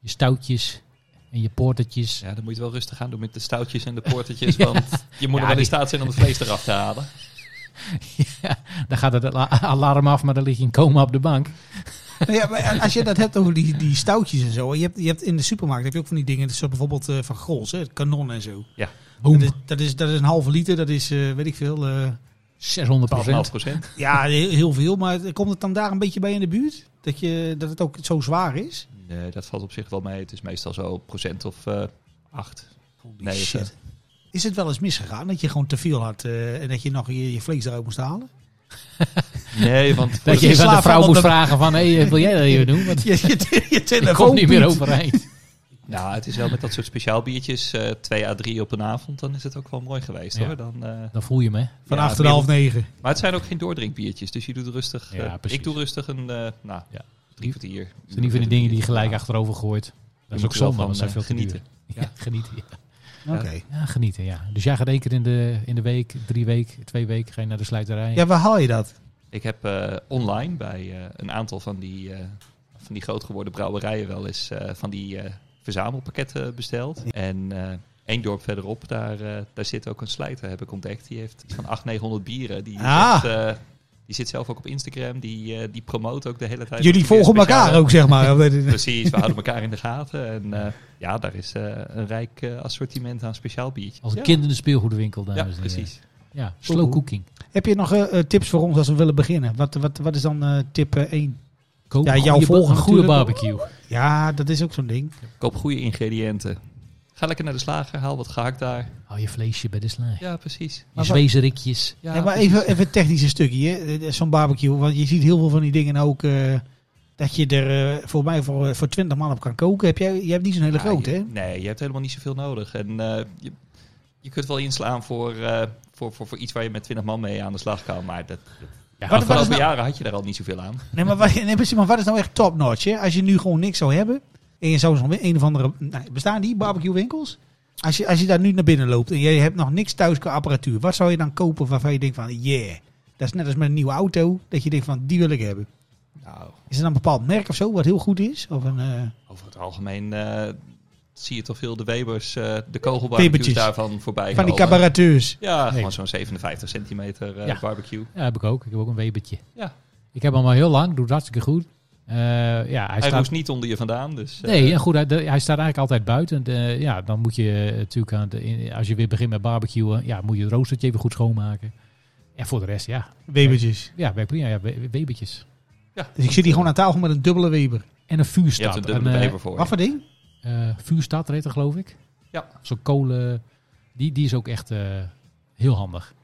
A: je stoutjes en je portertjes.
B: Ja, dan moet je het wel rustig aan doen met de stoutjes
A: [laughs]
B: en de poortetjes. Want je moet er
A: Ja,
B: wel in
A: die-
B: staat zijn om het vlees eraf te
A: [laughs]
B: halen.
A: Dan gaat het ala- alarm af, maar dan lig je in coma op de bank.
E: Nou ja, maar als je dat hebt over die, die stoutjes en zo. Je hebt, je hebt in de supermarkt heb je ook van die dingen. Zoals bijvoorbeeld eh, van Grols, hè, het kanon en zo.
B: Ja.
E: Dat is, dat, is, dat is een halve liter, dat is eh, weet ik veel. eh,
A: 600
B: 12,5 procent.
E: ja, heel, heel veel. Maar komt het dan daar een beetje bij in de buurt? Dat, je, dat het ook zo zwaar is?
B: Nee, dat valt op zich wel mee. Het is meestal zo procent of eh 8. Nee,
E: shit.
B: het, eh,
E: Is het wel eens misgegaan dat je gewoon te veel had eh, en dat je nog je, je vlees eruit moest halen? [laughs]
B: eh, nee,
A: [laughs]
B: want voor
A: Dat je
B: de-
A: even aan de
E: slaaf
A: vrouw
E: van
A: moest
E: de-
A: vragen van, hé, wil jij dat even doen? [laughs] Want
E: Je, je, je
A: ik
E: telefoon
A: kom niet meer
E: piept.
A: [laughs] overeind.
B: nou, het is wel met dat soort speciaal biertjes, eh 2 à 3 op een avond, dan is het ook wel mooi geweest
A: Ja.
B: hoor. Dan, eh,
A: Dan voel je me. hè?
E: Van
B: Ja,
E: acht en half negen.
B: maar het zijn ook geen doordrinkbiertjes, dus je doet rustig. eh,
A: Ja, precies.
B: ik doe rustig een, eh nou,
A: Ja.
B: drie kwartier.
A: Het zijn niet van die dingen die je gelijk achterover gooit. Dat
B: moet
A: is ook
B: er wel
A: zonde, want
B: van,
A: dat zijn
B: eh,
A: veel te duur.
B: genieten.
A: [laughs] Ja, genieten. Ja.
E: Oké.
A: Ja, genieten, ja. Dus jij gaat één keer in de, in de week, drie weken, twee weken, ga je naar de slijterij.
E: Ja, waar haal je dat?
B: Ik heb eh, online bij eh, een aantal van die, eh, van die groot geworden brouwerijen wel eens eh, van die eh, verzamelpakketten besteld. En eh één dorp verderop, daar, eh, daar zit ook een slijter, heb ik ontdekt. Die heeft iets van 800, 900 bieren. Die,
E: Ah.
B: zit, eh, die zit zelf ook op Instagram. Die, eh, die promoot ook de hele tijd.
E: Jullie
B: met die
E: volgen
B: speciale-
E: elkaar ook,
A: [laughs]
E: zeg
B: [laughs]
E: maar. eh,
B: Precies, we houden elkaar in de gaten. En eh, ja, daar is eh, een rijk eh, assortiment aan speciaal biertjes.
A: Als een
B: ja.
A: kind in de speelgoedwinkel, dames
B: Ja,
E: dus, eh.
A: en heren.
B: precies.
A: Ja, slow cooking.
E: Heb je nog eh, eh, tips voor ons als we willen beginnen? Wat, wat, wat is dan eh, tip 1?
A: Koop
E: Ja,
A: een
E: jouw
A: goede ba-
E: volgen
A: een goede
E: natuurlijk.
A: barbecue.
E: ja, dat is ook zo'n ding.
B: Koop goede ingrediënten. Ga lekker naar de slager, haal wat gehakt daar.
A: Hou je vleesje bij de slij.
B: Ja, precies.
A: Je
E: Maar wat-
A: zwezerikjes.
B: Ja, dus-
E: Nee, maar even, even het technische stukje. hè. Eh, Zo'n barbecue. Want je ziet heel veel van die dingen ook. eh, dat je er eh, voor mij voor, eh, voor 20 man op kan koken. Heb jij, je hebt niet zo'n hele
B: Ja,
E: grote,
B: je-
E: hè?
B: Nee, je hebt helemaal niet zoveel nodig. En eh, je, je kunt wel inslaan voor, eh, voor, voor, voor iets waar je met 20 man mee aan de slag kan. Maar dat,
A: Ja,
E: Wat-
B: de
E: wat is
B: afgelopen
E: nou-
B: jaren had je daar al niet zoveel aan.
E: Nee, maar, wat, nee, precies, maar wat is nou echt top notch? Hè? Als je nu gewoon niks zou hebben. En je zou zo'n een of andere. Nou, bestaan die barbecue winkels? Als je, als je daar nu naar binnen loopt en je hebt nog niks thuis qua apparatuur. Wat zou je dan kopen waarvan je denkt van yeah. Dat is net als met een nieuwe auto. Dat je denkt van die wil ik hebben.
B: Nou,
E: Is er dan een bepaald merk of zo wat heel goed is? Of een, eh,
B: over het algemeen eh, zie je toch veel de Webers, eh, de kogelbarbecues
E: Pepertjes.
B: daarvan voorbij
E: van die
B: komen.
E: cabareteurs.
B: Ja,
A: Nee.
B: gewoon zo'n 57 centimeter eh,
A: Ja.
B: barbecue.
A: Ja, heb ik ook. Ik heb ook een webertje.
B: Ja.
A: Ik heb hem al heel lang, doet het hartstikke goed. Eh, ja, hij,
B: Hij,
A: staat...
B: moest niet onder je vandaan, dus... eh,
A: Nee, en goed, hij, de- hij staat eigenlijk altijd buiten. De- ja, dan moet je eh, natuurlijk, aan de, in- als je weer begint met barbecuen, ja, moet je het roostertje even goed schoonmaken. En voor de rest, ja,
E: Webertjes.
A: ja werkt prima. Ja, we- webertjes.
E: Dus ik zit hier gewoon aan tafel met een dubbele Weber.
A: En een
B: je hebt
A: vuurstad.
B: een dubbele
A: eh,
B: Weber voor.
E: Wat voor ding?
A: eh, vuurstad heet dat, geloof ik.
B: Ja.
A: Zo'n kolen, die, die is ook echt eh, heel handig.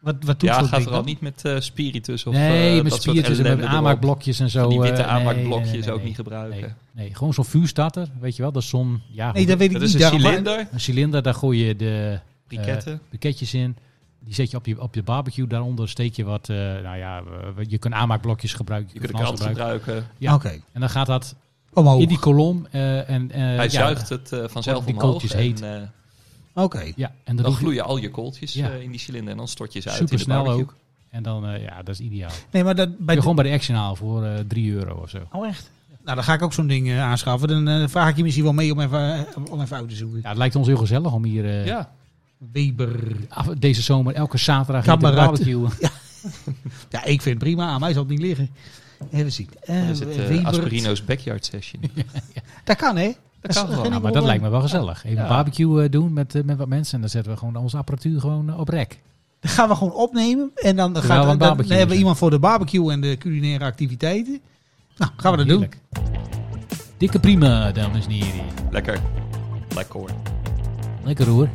E: Wat, wat doet
B: Ja,
E: zo'n
B: gaat
E: ding
B: vooral
E: dan?
B: niet met eh, spiritus of
A: nee,
B: eh,
A: met
B: dat soort
A: spiertjes en met
B: ellende erop.
A: aanmaakblokjes en zo.
B: Van die witte
A: eh, nee, nee, nee,
B: aanmaakblokjes
A: nee,
B: ook
A: nee.
B: niet gebruiken.
A: Nee, nee, gewoon zo'n vuurstatter, weet je wel. Dat is zo'n, ja,
E: Nee,
A: hoe-
E: dat weet ik
B: Dat is
E: niet.
B: een
E: daarom-
B: cilinder,
A: een cilinder, daar gooi je de...
B: briketten.
A: pakketjes in. Die zet je op je, op je barbecue. Daaronder steek je wat, eh, nou ja, eh, je kunt aanmaakblokjes gebruiken.
B: je kunt de
A: van alles
B: krant gebruiken.
A: Ja.
E: Oké,
A: En dan gaat dat
E: omhoog.
A: in die kolom. eh, en, eh,
B: Hij
A: ja,
B: zuigt het eh, vanzelf
A: die
B: omhoog.
A: kooltjes
B: en,
A: heet.
B: eh,
E: Oké.
A: Ja, en dan
B: dan
A: doe je
B: gloeien al je kooltjes
A: Ja.
B: eh, in die cilinder en dan stort je ze uit in de
A: supersnel
B: barbecue.
A: ook. En dan, eh, ja, dat is ideaal. Kun
E: Nee, maar dat, bij
A: je
E: de-
A: gewoon bij de Action halen voor eh 3 euro of zo.
E: Oh, echt? Nou, dan ga ik ook zo'n ding eh, aanschaffen. Dan eh, vraag ik je misschien wel mee om even, eh, om even uit te zoeken.
A: Ja, het lijkt ons heel gezellig om hier eh,
B: Ja,
E: Weber.
A: af- deze zomer elke zaterdag hier te
E: Kamerad. [laughs]
A: barbecuen.
E: Ja, ik vind het prima. Aan mij zal het niet liggen. Even zien. Eh,
B: dan is het eh,
E: Weber.
B: Asperino's Backyard Session.
E: Dat kan, hè?
B: Dat kan
A: Ja,
B: gewoon.
A: Oh, nou, maar dat lijkt me wel gezellig. Even
B: Ja.
A: barbecue eh, doen met, eh, met wat mensen. En dan zetten we gewoon onze apparatuur gewoon eh, op rek.
E: Dan gaan we gewoon opnemen. En
A: Terwijl
E: dan,
A: we
E: gaat,
A: een
E: dan, dan
A: barbecue
E: hebben we
A: doen.
E: iemand voor de barbecue en de culinaire activiteiten. Nou, gaan we dat doen.
A: Heerlijk. Dikke prima, dames en heren.
B: Lekker. Lekker hoor.
A: Lekker hoor.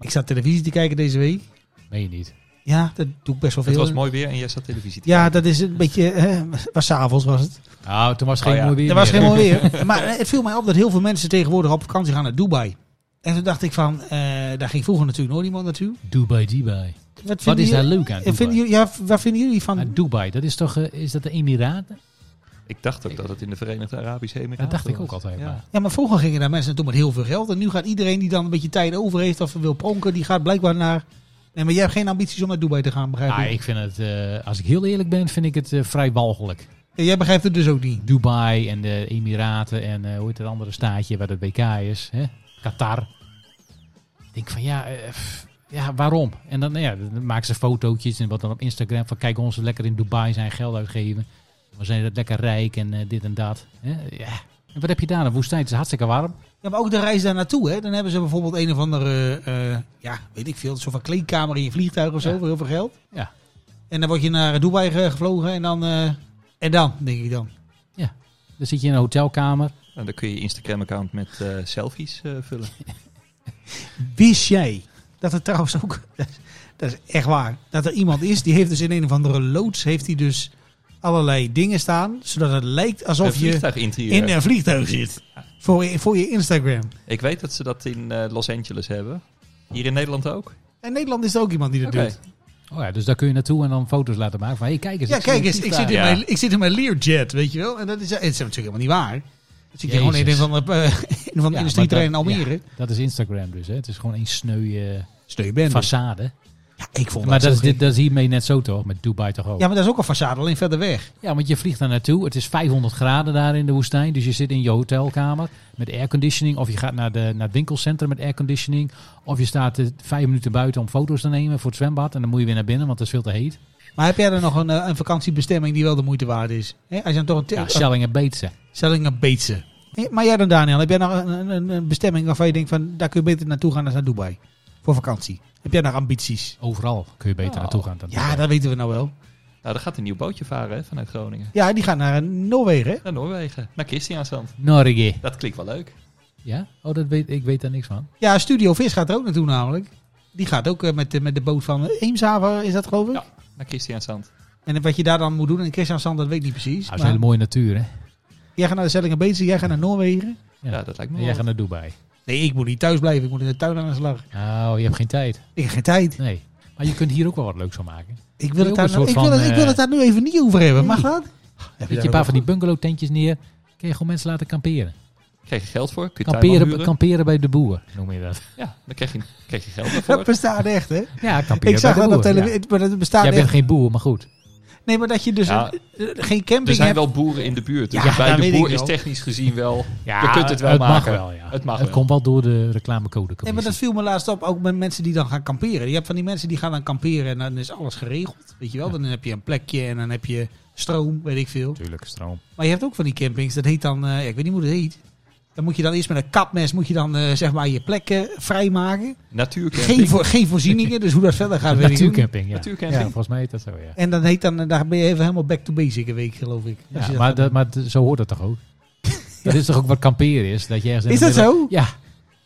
E: Ik zat televisie te kijken deze week.
A: Meen je niet.
E: Ja, dat doe ik best wel
B: Het
E: veel.
B: was mooi weer en jij zat televisie te
E: Ja,
B: kijken.
E: dat is een beetje... Hè, was 's avonds was het.
A: Nou, toen was geen
B: ja.
A: mooi weer.
E: Oh Er was
A: meer.
E: geen mooi
A: [laughs]
E: weer. Maar eh, het viel mij op dat heel veel mensen tegenwoordig op vakantie gaan naar Dubai. En toen dacht ik van, eh, daar ging vroeger natuurlijk nooit iemand naartoe.
A: Dubai, Dubai.
E: Wat,
A: Wat
E: vinden
A: is daar
E: jullie-
A: leuk aan?
E: eh, Vinden
A: Dubai?
E: jullie, ja, waar vinden jullie van?
A: Maar Dubai, dat is toch eh, is dat de Emiraten?
B: Ik dacht ook dat het in de Verenigde Arabische Emiraten
A: Dat dacht ik
B: was.
A: ook altijd, maar-
E: Ja, maar vroeger gingen daar mensen naartoe met heel veel geld. En nu gaat iedereen die dan een beetje tijd over heeft of wil pronken, die gaat blijkbaar naar... Nee, maar jij hebt geen ambities om naar Dubai te gaan, begrijp
A: Ah,
E: ik.
A: ik vind het, eh, als ik heel eerlijk ben, vind ik het eh, vrij walgelijk.
E: Ja, jij begrijpt het dus ook niet.
A: Dubai en de Emiraten en eh hoe heet het andere staatje waar het WK is. Hè? Qatar. Ik denk van ja, eh, pff, ja, waarom? En dan, nou ja, dan maken ze fotootjes en wat dan op Instagram van kijk ons lekker in Dubai zijn geld uitgeven. We zijn dat lekker rijk en eh, dit en dat. Hè? Ja. En wat heb je daar? Een woestijn, het is hartstikke warm.
E: Ja, maar ook de reis daar naartoe, hè. Dan hebben ze bijvoorbeeld een of andere, eh, eh, ja, weet ik veel, zo'n kleedkamer in je vliegtuig of zo,
A: Ja.
E: voor heel veel geld.
A: Ja.
E: En dan word je naar Dubai ge- gevlogen en dan, eh, en dan, denk ik dan.
A: Dan zit je in een hotelkamer.
B: En dan kun je je Instagram-account met eh, selfies eh, vullen.
E: Wist jij dat er trouwens ook, [laughs] dat is echt waar, dat er iemand is die heeft dus in een of andere loods, heeft hij dus allerlei dingen staan, zodat het lijkt alsof
B: Een
E: je
B: vliegtuiginterieur.
E: in een vliegtuig zit. Voor je, voor je Instagram.
B: Ik weet dat ze dat in eh, Los Angeles hebben. Hier in Nederland ook.
E: In Nederland is er ook iemand die dat
B: Oké.
E: doet.
A: Oh ja, dus daar kun je naartoe en dan foto's laten maken van hey, kijk eens.
E: Ja,
A: ik zit in
E: kijk
A: een
E: eens, ik
A: vliegtuig.
E: zit, in
B: Ja.
E: mijn, ik zit in mijn Learjet, weet je wel. En dat is, het is natuurlijk helemaal niet waar. Dan zit je gewoon [laughs] in een
A: Jezus.
E: van de, een van
A: Ja,
E: de industrietrein in
A: maar dat-
E: Almere.
A: Dat is Instagram dus, hè? Het is gewoon een sneu eh,
E: Stel je bent.
A: façade.
E: Ik vond
A: Maar dat
E: zo
A: is,
E: gek.
A: dit, dat is hiermee net zo toch? Met Dubai toch ook?
E: Ja,
A: Ja,
E: maar dat is ook een façade, alleen verder weg.
A: want je vliegt daar naartoe. Het is 500 graden daar in de woestijn. Dus je zit in je hotelkamer met airconditioning. Of je gaat naar, de, naar het winkelcentrum met airconditioning. Of je staat eh, vijf minuten buiten om foto's te nemen voor het zwembad. En dan moet je weer naar binnen, want het is veel te heet.
E: Maar heb jij er nog een, eh, een vakantiebestemming die wel de moeite waard is? Hè, als je dan toch een,
A: Ja,
E: ja,
A: Schelling en Beetse.
E: stelling een beetse. Hé, Maar jij dan, Daniel, heb jij nog een, een, een bestemming waarvan je denkt van daar kun je beter naartoe gaan dan naar Dubai? Voor vakantie. Heb jij nog ambities?
A: Overal kun je beter naartoe gaan. Dan
E: Ja, dat weten we nou wel.
B: Nou, er gaat een nieuw bootje varen hè, vanuit Groningen.
E: Ja, die gaan naar eh, Noorwegen. hè?
B: Naar Noorwegen. Naar Christiansand.
A: Norge.
B: Dat klinkt wel leuk.
A: Ja? Oh, dat weet, ik weet daar niks van.
E: Ja, Studio Vis gaat er ook naartoe namelijk. Die gaat ook eh, met, de- met de boot van eh, Eemshaven, is dat geloof ik?
B: Ja. Naar Christiansand.
E: En wat je daar dan moet doen, en Christian Sand, dat weet ik niet
A: Nou,
E: precies.
A: dat is
E: maar
A: hele mooie natuur, hè?
E: jij gaat naar de Sellingenbeetse, jij gaat naar Noorwegen.
A: Ja.
B: Ja. dat lijkt me
A: En
B: wel.
A: jij gaat naar Dubai.
E: Nee, ik moet niet thuis blijven, ik moet in de tuin aan de slag.
A: Nou, je hebt geen tijd.
E: Ik heb geen tijd.
A: Nee. Maar je kunt hier ook wel wat leuks van maken.
E: Ik wil,
A: Ook
E: het daar, nou-
A: een soort
E: ik, wil
A: van,
E: het, ik wil
A: eh,
E: het daar nu even niet over hebben, mag dat?
A: Zet je een paar van die bungalowtentjes neer. Kun je gewoon mensen laten kamperen.
B: Krijg je geld voor? Kun je tuinman
A: Kamperen,
B: huren?
A: kamperen bij de boer, noem je dat.
B: Ja, dan krijg je, krijg je geld
E: Dat
B: daarvoor.
E: bestaat echt, hè?
A: Ja, kamperen
E: Ik zag
A: bij de
E: dat op
A: boer.
E: televisie, maar dat
A: Ja.
E: bestaat
A: Jij bent
E: echt.
A: geen boer, maar goed.
E: Nee, maar dat je dus
B: Ja.
E: een- eh, geen camping
A: Dus
B: Er zijn
E: hebt.
B: wel boeren in de buurt. Dus
E: Ja,
B: bij
E: dat
B: de
E: weet
B: boer
E: ik
B: is
E: wel.
B: technisch gezien wel...
A: Ja,
B: je kunt het wel
A: het
B: maken.
A: Mag wel, ja.
B: Het mag wel.
A: komt wel door de reclamecode.
E: Nee, maar dat viel me laatst op, ook met mensen die dan gaan kamperen. Je hebt van die mensen die gaan dan kamperen en dan is alles geregeld, weet je wel. Dan heb je een plekje en dan heb je stroom, weet ik veel.
A: Tuurlijk, stroom.
E: Maar je hebt ook van die campings, dat heet dan, eh, ja, ik weet niet hoe dat heet. Dan moet je dan eerst met een kapmes, moet je dan eh, zeg maar je plekken vrijmaken.
B: Natuurcamping.
E: Geen, voor, geen voorzieningen, dus hoe dat verder gaat, weet ik niet.
A: Natuurcamping, ja.
B: Natuurcamping.
A: Ja, volgens mij heet dat zo, ja.
E: En dan heet dan, eh, daar ben je even helemaal back to basic een week, geloof ik. Als
A: Ja,
E: je dat
A: maar,
E: gaat
A: dat,
E: doen.
A: maar d- zo hoort dat toch
E: [laughs]
A: ook? Dat is toch ook wat kamperen is? Dat je ergens in
E: Is
A: de
E: dat
A: midden-
E: zo?
A: Ja. Wat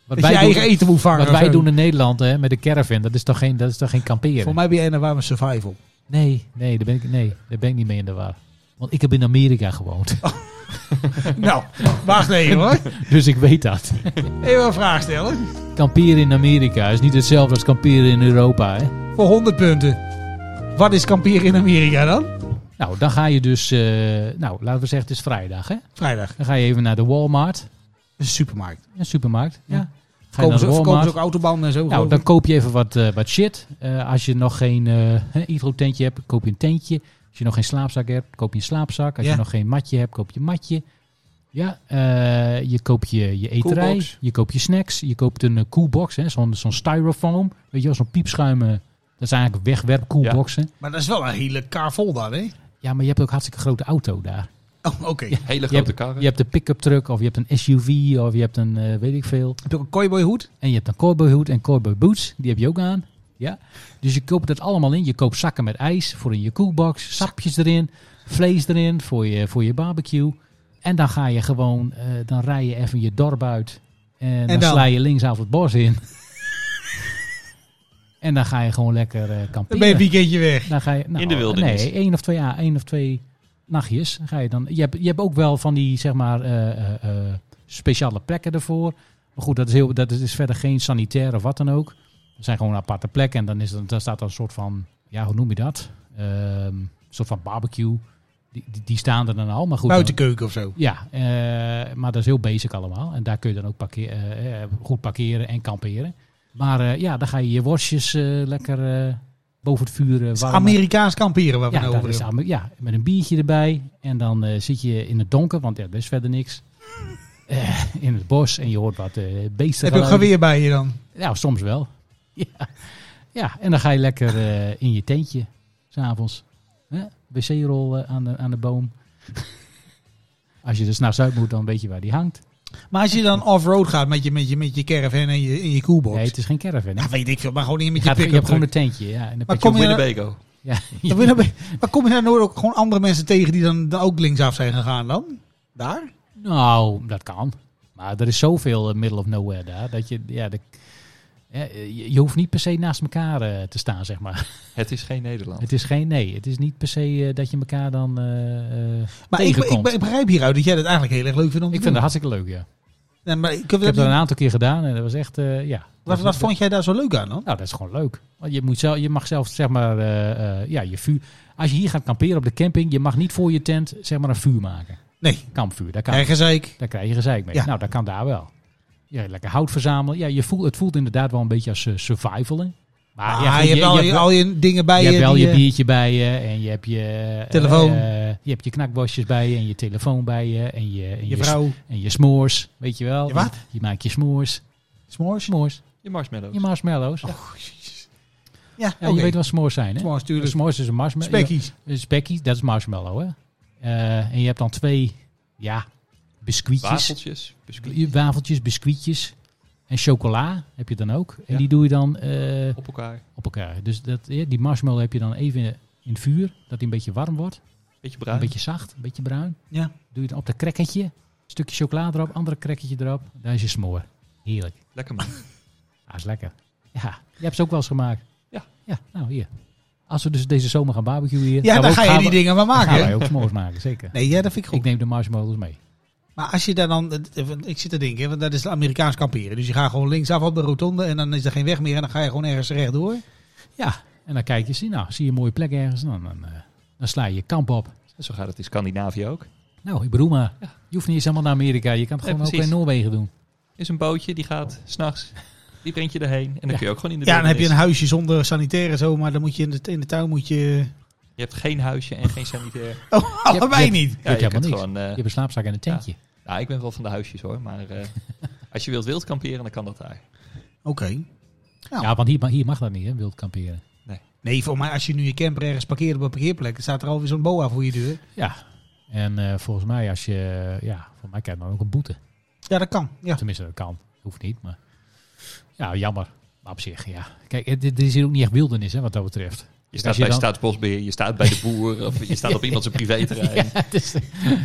E: dat je
A: wij,
E: eigen
A: doen,
E: eten moet vangen.
A: wat
E: of
A: wij
E: zo.
A: doen in Nederland hè, met de caravan, dat is toch geen, dat is toch geen kamperen?
E: Voor mij ben je een warme
A: [laughs]
E: survival.
A: Nee, nee, daar ben ik, nee, daar ben ik niet mee in de war. Want ik heb in Amerika gewoond, [laughs]
E: nou, wacht even hoor.
A: dus ik weet
E: [laughs]
A: dat.
E: Even een vraag stellen.
A: Kamperen in Amerika is niet hetzelfde als kamperen in Europa. Hè?
E: Voor 100 punten. Wat is kamperen in Amerika dan?
A: Nou, dan ga je dus, eh, nou, laten we zeggen, het is vrijdag. Hè?
E: Vrijdag.
A: Dan ga je even naar de Walmart,
E: Een supermarkt.
A: een supermarkt. Ja.
E: Ja.
A: Ga je
E: Kopen
A: naar
E: ze,
A: de
E: verkopen ze ook
A: Walmart.
E: autobanden en zo?
A: Nou,
E: geloof
A: dan
E: ik?
A: koop je even wat, eh, wat shit. Eh, als je nog geen eh hydro-tentje hebt, koop je een tentje. Als je nog geen slaapzak hebt, koop je een slaapzak. Als
E: Ja.
A: je nog geen matje hebt, koop je een matje. Ja, eh, je koopt je, je eterij,
B: Koelbox.
A: je koopt je snacks, je koopt een eh, koelbox, hè, zo'n zo'n styrofoam. Weet je wel, zo'n piepschuim. eh, dat zijn eigenlijk wegwerpkoelboxen.
E: Maar dat is wel een hele kar vol dan, hè?
A: Ja. maar je hebt ook hartstikke grote auto daar.
E: Oh, oké.
B: Hele
A: Je
B: grote
A: hebt,
B: karren.
A: je hebt een pick-up truck of je hebt een SUV of je hebt een eh, weet ik veel.
E: Heb je ook een cowboyhoed?
A: En je hebt een cowboyhoed en cowboy boots. Die heb je ook aan. Ja? Dus je koopt dat allemaal in. Je koopt zakken met ijs voor in je koelbox. Sapjes erin. Vlees erin voor je, voor je barbecue. En dan ga je gewoon... eh, dan rij je even je dorp uit. En, dan,
E: dan?
A: sla je linksaf het bos in. [laughs] En dan ga je gewoon lekker eh
E: Dan ben je
A: kamperen.
E: een weekendje weg.
A: Dan ga je, nou,
B: In de wildernis.
A: Nee, één of twee, ja, één of twee nachtjes. Ga je, dan, je, hebt, je hebt ook wel van die zeg maar, eh, eh, eh, speciale plekken ervoor. Maar goed, dat is, heel, dat is- is verder geen sanitair of wat dan ook. Er zijn gewoon aparte plekken. En dan, is, dan staat er een soort van, ja, hoe noem je dat? Ehm, een soort van barbecue. Die, die, die staan er dan al. Maar goed, dan-
E: Buitenkeuken of zo.
A: ja, eh, maar dat is heel basic allemaal. En daar kun je dan ook parkeer, eh, eh, goed parkeren en kamperen. Maar eh, ja, dan ga je je worstjes eh, lekker eh, boven het vuur eh, warmen.
E: Amerikaans kamperen waar we
A: ja,
E: het nou
A: dat
E: over
A: is
E: hebben.
A: Amer- ja, met een biertje erbij. En dan eh, zit je in het donker, want ja, er is verder niks. Eh, in het bos en je hoort wat eh, beesten.
E: Heb je ook
A: geluiden.
E: geweer bij je dan?
A: Ja, soms wel. [laughs] Ja. ja, en dan ga je lekker eh, in je tentje, s'avonds. Wc-rol eh, aan, de, aan de boom. [laughs] Als je er s'nachts uit moet, dan weet je waar die hangt.
E: Maar als je dan off-road gaat met je, met je, met je caravan en je, en je coolbox.
A: Nee, het is geen
E: [laughs]
A: caravan. hè?
E: Ja, nou, weet ik veel, maar gewoon in
A: Je,
E: met je
A: gaat, je hebt
E: pick-up
A: gewoon een
E: truck.
A: tentje. Ja, en dan
E: Maar
A: pak je
E: kom je-
B: Winnebago.
A: Ja, [laughs]
E: Dan ben je dan- Maar kom je daar nooit ook gewoon andere mensen tegen die dan, dan ook linksaf zijn gegaan dan? Daar?
A: Nou, dat kan. Maar er is zoveel eh, middle of nowhere daar. Dat je, ja, de, ja, eh, je, je hoeft niet per se naast elkaar eh, te staan, zeg maar. [laughs]
B: Het is geen Nederland.
A: Het is geen nee. Het is niet per se eh, dat je elkaar dan eh, eh,
E: Maar ik,
A: tegenkomt.
E: ik, ik begrijp hieruit dat jij dat eigenlijk heel erg leuk vindt om te
A: ik vind het
E: doen.
A: hartstikke leuk, ja.
E: Nee, maar ik, heb-
A: Ik heb dat een aantal keer gedaan en dat was echt, eh, ja.
E: wat, wat vond jij daar zo leuk aan dan?
A: Nou, dat is gewoon leuk. Want je, moet zelf, je mag zelf, zeg maar, eh, eh, ja, je vuur... Als je hier gaat kamperen op de camping, je mag niet voor je tent, zeg maar, een vuur maken.
E: Nee,
A: Kampvuur, daar, kan,
E: ergens zei ik.
A: daar krijg je gezeik mee.
E: Ja.
A: Nou, dat kan daar wel. Ja, lekker hout verzamelen. Ja, je voelt, het voelt inderdaad wel een beetje als eh, survivalen. Maar
E: Ah,
A: ja, goed,
E: je hebt al
A: je,
E: je, al je dingen bij
A: je
E: je.
A: hebt wel
E: die eh,
A: je biertje bij je en je hebt je... eh,
E: Telefoon.
A: eh, je hebt je knakbosjes bij je en je telefoon bij je en je... En
E: Je vrouw.
A: En je smoors, weet je wel.
E: Je wat?
A: Je maakt je smoors.
E: S'mores?
A: S'mores.
B: Je marshmallows.
A: Je marshmallows. ja.
E: Ja,
A: Ja,
E: oké.
A: Je weet wat s'mores zijn, hè?
E: S'mores, tuurlijk.
A: S'mores is een marshmallow.
E: Spekkies.
A: Een spekkie, dat is marshmallow, hè? Eh, en je hebt dan twee, ja, biscuitjes.
B: Wafeltjes. biscuit,
A: Je- Wafeltjes, biscuitjes. En chocola heb je dan ook. En
B: Ja.
A: die doe je dan eh,
B: Op elkaar.
A: op elkaar. Dus dat, ja, die marshmallow heb je dan even in het vuur, dat die een beetje warm wordt.
B: Beetje
A: Een
B: bruin.
A: beetje zacht, een beetje bruin.
E: Ja.
A: Doe je dan op dat krekketje. Stukje chocola erop, andere krekketje erop. Daar is je smoor. Heerlijk.
B: Lekker man.
A: Ah, is lekker. Ja, je hebt ze ook wel eens gemaakt.
B: Ja.
A: Ja, nou hier. Als we dus deze zomer gaan barbecuen hier.
E: Ja,
A: gaan Nou, we
E: dan
A: ook-
E: ga je
A: gaan
E: die
A: we-
E: dingen maar maken.
A: Gaan wij
E: hè?
A: ook s'mores maken, zeker.
E: Nee, ja, dat vind ik goed.
A: Ik neem de marshmallows mee.
E: Maar als je daar dan, eh, want ik zit te denken, want dat is Amerikaans kamperen. Dus je gaat gewoon linksaf op de rotonde en dan is er geen weg meer en dan ga je gewoon ergens rechtdoor.
A: Ja, en dan kijk je, zie, nou, zie je een mooie plek ergens, dan, dan, eh, dan sla je je kamp op.
B: Zo gaat het in Scandinavië ook.
A: Nou, ik bedoel maar, je hoeft niet eens helemaal naar Amerika, je kan het
B: Nee,
A: gewoon ook
B: precies.
A: in Noorwegen doen.
B: Is een bootje die gaat s'nachts. Die brengt je erheen. En dan
A: Ja.
B: kun je ook gewoon in de
E: Ja, dan heb je
B: wildernis.
E: een huisje zonder sanitair en zo, maar dan moet je in de, in de tuin moet je...
B: Je hebt geen huisje en geen sanitair.
A: [laughs]
E: Oh,
A: Je hebt-
E: allebei
A: je hebt-
E: niet.
A: Je hebt
B: je
A: helemaal
B: kunt
A: niks.
B: gewoon.
A: Je
B: eh,
A: hebt een slaapzak en een tentje.
B: nou, ik ben wel van de huisjes hoor. Maar
A: [laughs]
B: eh, als je wilt wild kamperen, dan kan dat daar.
E: Oké.
A: Ja,
E: Ja.
B: Nou.
A: want hier, ma- hier mag dat niet, hè, wild kamperen.
E: Nee, voor mij als je nu je camper ergens parkeert op een parkeerplek, dan staat er alweer zo'n boa voor je deur.
A: Ja, en eh, volgens mij als je, ja, volgens mij krijg je dan ook een boete.
E: Ja, dat kan. Ja.
A: Tenminste, dat kan. Hoeft niet, maar ja, jammer. Maar op zich, ja. Kijk, het- dit is hier ook niet echt wildernis, hè, wat dat betreft.
B: Je staat
A: je
B: bij
A: dan-
B: staatsbosbeheer, je staat bij de boer, of je staat op iemand zijn privéterrein.
A: [laughs] Ja, het is-
E: Je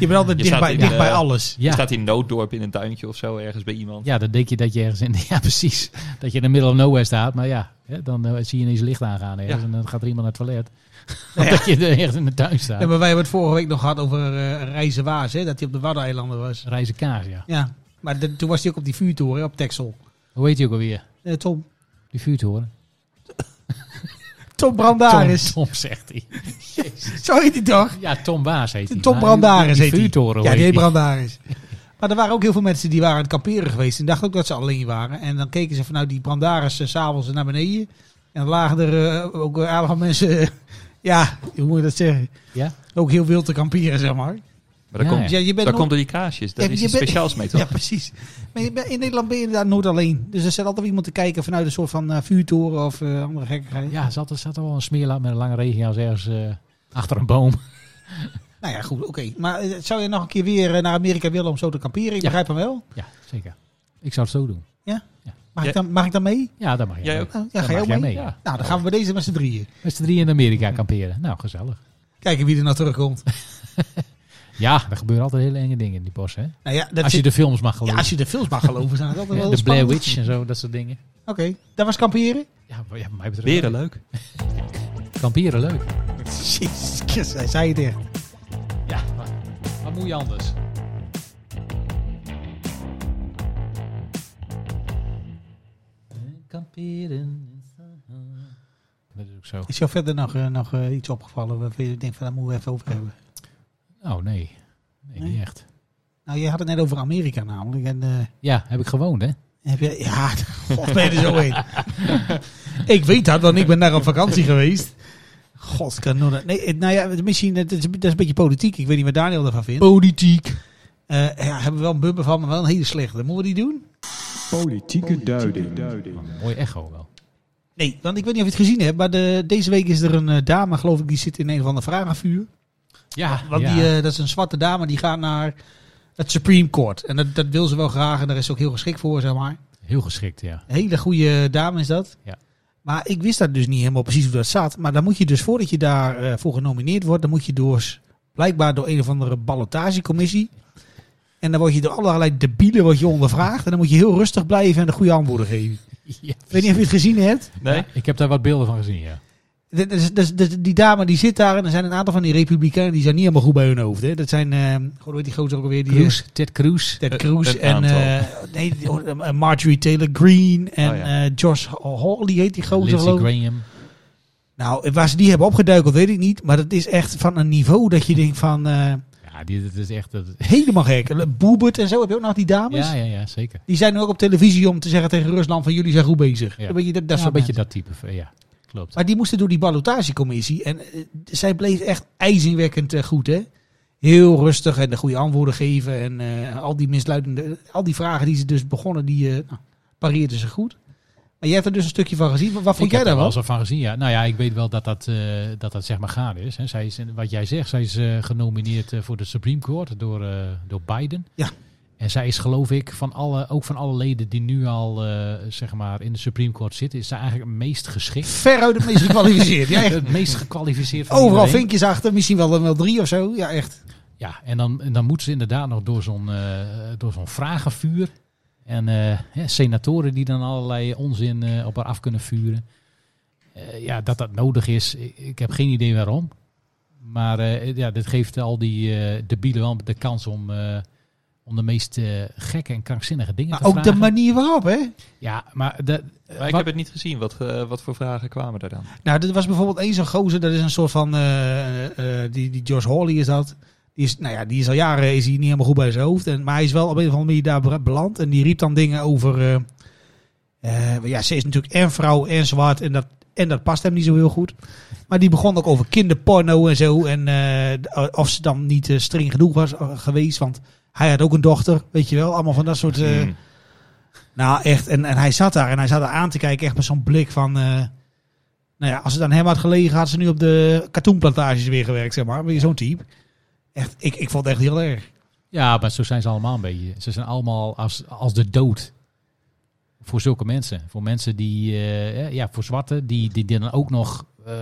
E: bent altijd
B: Je
E: dicht,
B: staat
E: bij,
B: in,
E: dicht
B: eh,
E: bij alles.
B: Je
A: ja.
B: staat in Nooddorp in een tuintje of zo, ergens bij iemand.
A: Ja, dan denk je dat je ergens in... [laughs] Ja, precies. Dat je in de middle of nowhere staat. Maar ja, hè, dan eh, zie je ineens licht aangaan ergens.
B: Ja.
A: En dan gaat er iemand naar het toilet. [laughs] Omdat je er ergens in de tuin staat.
E: Ja, maar wij hebben het vorige week nog gehad over eh Reizen Waas, hè, dat hij op de Waddeneilanden was.
A: Reizen kaas, ja.
E: Ja, maar de- toen was hij ook op die vuurtoren op Texel.
A: Hoe heet hij ook alweer?
E: Eh, Tom.
A: Die vuurtoren.
E: Tom Brandaris.
A: Tom, Tom zegt hij.
E: Zo heet hij toch?
A: Ja, Tom Baas heet hij.
E: Tom
A: Maar
E: Brandaris
A: die
E: heet hij.
A: vuurtoren.
E: Ja, die heet
A: heet
E: Brandaris. Maar er waren ook heel veel mensen die waren aan het kamperen geweest. En dachten ook dat ze alleen waren. En dan keken ze vanuit die Brandaris eh, s'avonds naar beneden. En dan lagen er eh, ook een aantal mensen... [laughs] eh, ja, hoe moet je dat zeggen?
A: die. Ja?
E: Ook heel wild te kamperen, zeg maar.
B: Maar dat,
A: Ja,
B: komt,
E: Dus ja, je
B: dat
E: bent nooit-
B: komt door die kaasjes, daar
E: Ja,
B: is
E: je
B: iets
E: bent-
B: speciaals mee toch?
E: [laughs] Ja, precies. Maar je bent- in Nederland ben je daar nooit alleen. Dus er zit altijd iemand te kijken vanuit een soort van eh, vuurtoren of eh, andere gekkigheid.
A: Ja, zat er zat er wel een smeerlaap met een lange regenjas ergens eh, achter een boom. [laughs]
E: Nou ja, goed, oké. Maar eh, zou je nog een keer weer eh, naar Amerika willen om zo te kamperen? Ik
A: Ja.
E: begrijp hem wel.
A: Ja, zeker. Ik zou het zo doen.
E: Mag,
B: Ja.
E: ik, dan, mag ik dan mee?
A: Ja, dat mag jij.
B: Jij
A: mee.
B: ook?
E: Nou, ja,
A: Dan
E: ga je
A: mag
E: ook
A: jij
E: mee?
A: mee. Oh.
B: Ja.
E: Nou, dan gaan we bij deze met z'n drieën.
A: Met z'n drieën in Amerika kamperen. Nou, gezellig.
E: Kijken wie er
A: [laughs]
E: nou terugkomt.
A: Ja, er gebeuren altijd hele enge dingen in die bossen. Hè?
E: Nou ja, dat
A: als je
E: zit-
A: de films mag
E: ja,
A: geloven.
E: als je de films mag geloven, zijn dat altijd wel
A: de Blair
E: spannend.
A: Witch en zo, dat soort dingen.
E: Oké, dat was kamperen.
A: Ja, maar- ja, wat mij betreft.
B: Beren leuk.
A: Kamperen leuk.
E: Jezus, Christus, hij zei het echt.
A: Ja, maar wat moet je anders? Kamperen. Dat is ook zo.
E: Is jou verder nog, eh, nog eh, iets opgevallen waarvan je denkt van daar moeten we even over hebben?
A: Oh nee. nee,
E: Nee?
A: niet echt.
E: Nou, je had het net over Amerika namelijk. En eh,
A: Ja, heb ik gewoond, hè?
E: heb je, ja, god ben je er zo heen. [laughs] ik weet dat, want ik ben daar op vakantie geweest. God, kan nog dat- Nee, eh, nou ja, misschien, eh, dat is, dat is een beetje politiek. Ik weet niet wat Daniel ervan vindt.
A: Politiek.
E: Eh, ja, hebben we wel een bumper van, maar wel een hele slechte. Moeten we die doen?
H: Politieke duiding.
A: Mooi echo wel.
E: Nee, want ik weet niet of je het gezien hebt, maar de, deze week is er een eh, dame, geloof ik, die zit in een van de vragenvuur.
A: Ja,
E: Want
A: ja.
E: die, eh, dat is een zwarte dame, die gaat naar het Supreme Court. En dat, dat wil ze wel graag en daar is ze ook heel geschikt voor, zeg maar.
A: heel geschikt, ja.
E: Een hele goede dame is dat.
A: Ja.
E: Maar ik wist dat dus niet helemaal precies hoe dat zat. Maar dan moet je dus, voordat je daarvoor voor genomineerd wordt, dan moet je door, blijkbaar door een of andere ballotagecommissie. En dan word je door allerlei debielen word je ondervraagd. En dan moet je heel rustig blijven en de goede antwoorden geven.
A: [laughs] Ja.
E: Ik weet niet of je het gezien hebt.
B: Nee?
A: Ja, ik heb daar wat beelden van gezien, ja.
E: Dus- dus- dus- dus die dame die zit daar en er zijn een aantal van die republikeinen die zijn niet helemaal goed bij hun hoofd. Hè. Dat zijn, eh hoe heet die gozer ook alweer? Die, eh,
A: Cruz, Ted Cruz.
E: Ted Cruz
B: Een
E: en
B: aantal.
E: eh, nee, die- oh, eh, Marjorie Taylor Greene en
B: Oh ja.
E: eh, Josh Hawley heet die gozer
A: Lindsey
E: geloof ik.
A: Graham.
E: Nou, waar ze die hebben opgeduikeld weet ik niet, maar dat is echt van een niveau dat je denkt van eh,
A: Ja, die, dat is echt... Dat,
E: helemaal gek. Boebert en zo heb je ook nog die dames.
A: ja, ja, ja, zeker.
E: Die zijn nu ook op televisie om te zeggen tegen Rusland van jullie zijn goed bezig.
A: Ja.
E: Een beetje dat, dat
A: Dat
E: soort
A: is een beetje
E: mensen.
A: dat type, van- ja. Klopt.
E: Maar die moesten door die ballotagecommissie. En eh, zij bleef echt ijzingwekkend eh, goed, hè? Heel rustig en de goede antwoorden geven. En eh, al die misluidende... Al die vragen die ze dus begonnen, die eh, nou, pareerden ze goed. Maar jij hebt er dus een stukje van gezien. Wat, wat vond
A: ik
E: jij
A: heb
E: daar
A: wel
E: wel?
A: eens wat van gezien, ja. Nou ja, ik weet wel dat dat, eh, dat, dat zeg maar gaande is. Hè. Zij is en wat jij zegt, zij is eh, genomineerd eh, voor de Supreme Court door, eh, door Biden.
E: Ja.
A: En zij is geloof ik, van alle, ook van alle leden die nu al eh, zeg maar in de Supreme Court zitten, is zij eigenlijk het meest geschikt.
E: Veruit het
A: [laughs]
E: meest gekwalificeerd. Ja, echt.
A: Het meest gekwalificeerd van
E: Overal
A: iedereen.
E: vinkjes achter. Misschien wel, er wel drie of zo. Ja, echt.
A: Ja, en dan, en dan moeten ze inderdaad nog door zo'n eh, door zo'n vragenvuur. En eh, hè, senatoren die dan allerlei onzin eh, op haar af kunnen vuren. Eh, ja, dat dat nodig is, ik, ik heb geen idee waarom. Maar eh, ja, dit geeft al die eh debielen wel de kans om, eh, om de meest eh, gekke en krankzinnige dingen
E: Maar
A: te
E: ook de
A: vragen.
E: manier waarop, hè?
A: ja, maar dat,
B: Maar ik
A: Wat-
B: heb het niet gezien. Wat, eh, wat voor vragen kwamen daar dan?
E: Nou, er was bijvoorbeeld één zo'n gozer, dat is een soort van, eh, eh, die, die Josh Hawley is dat. Die is, nou ja, die is al jaren is hij niet helemaal goed bij zijn hoofd. En, maar hij is wel op een of andere manier daar be- beland. En die riep dan dingen over, eh, eh, ja, ze is natuurlijk en vrouw en zwart. En dat, en dat past hem niet zo heel goed. Maar die begon ook over kinderporno en zo. En eh, d- of ze dan niet eh, streng genoeg was eh, geweest. Want hij had ook een dochter, weet je wel. Allemaal van dat soort... eh,
B: Hmm.
E: nou, echt. En, en hij zat daar en hij zat daar aan te kijken, echt met zo'n blik van. eh, nou ja, als het aan hem had gelegen, had ze nu op de katoenplantages weer gewerkt, zeg maar. Weer Zo'n type. Echt, ik, ik vond het echt heel erg.
A: Ja, maar zo zijn ze allemaal een beetje. Ze zijn allemaal als, als de dood. Voor zulke mensen. Voor mensen die, eh, ja, voor zwarten, die, die, die dan ook nog eh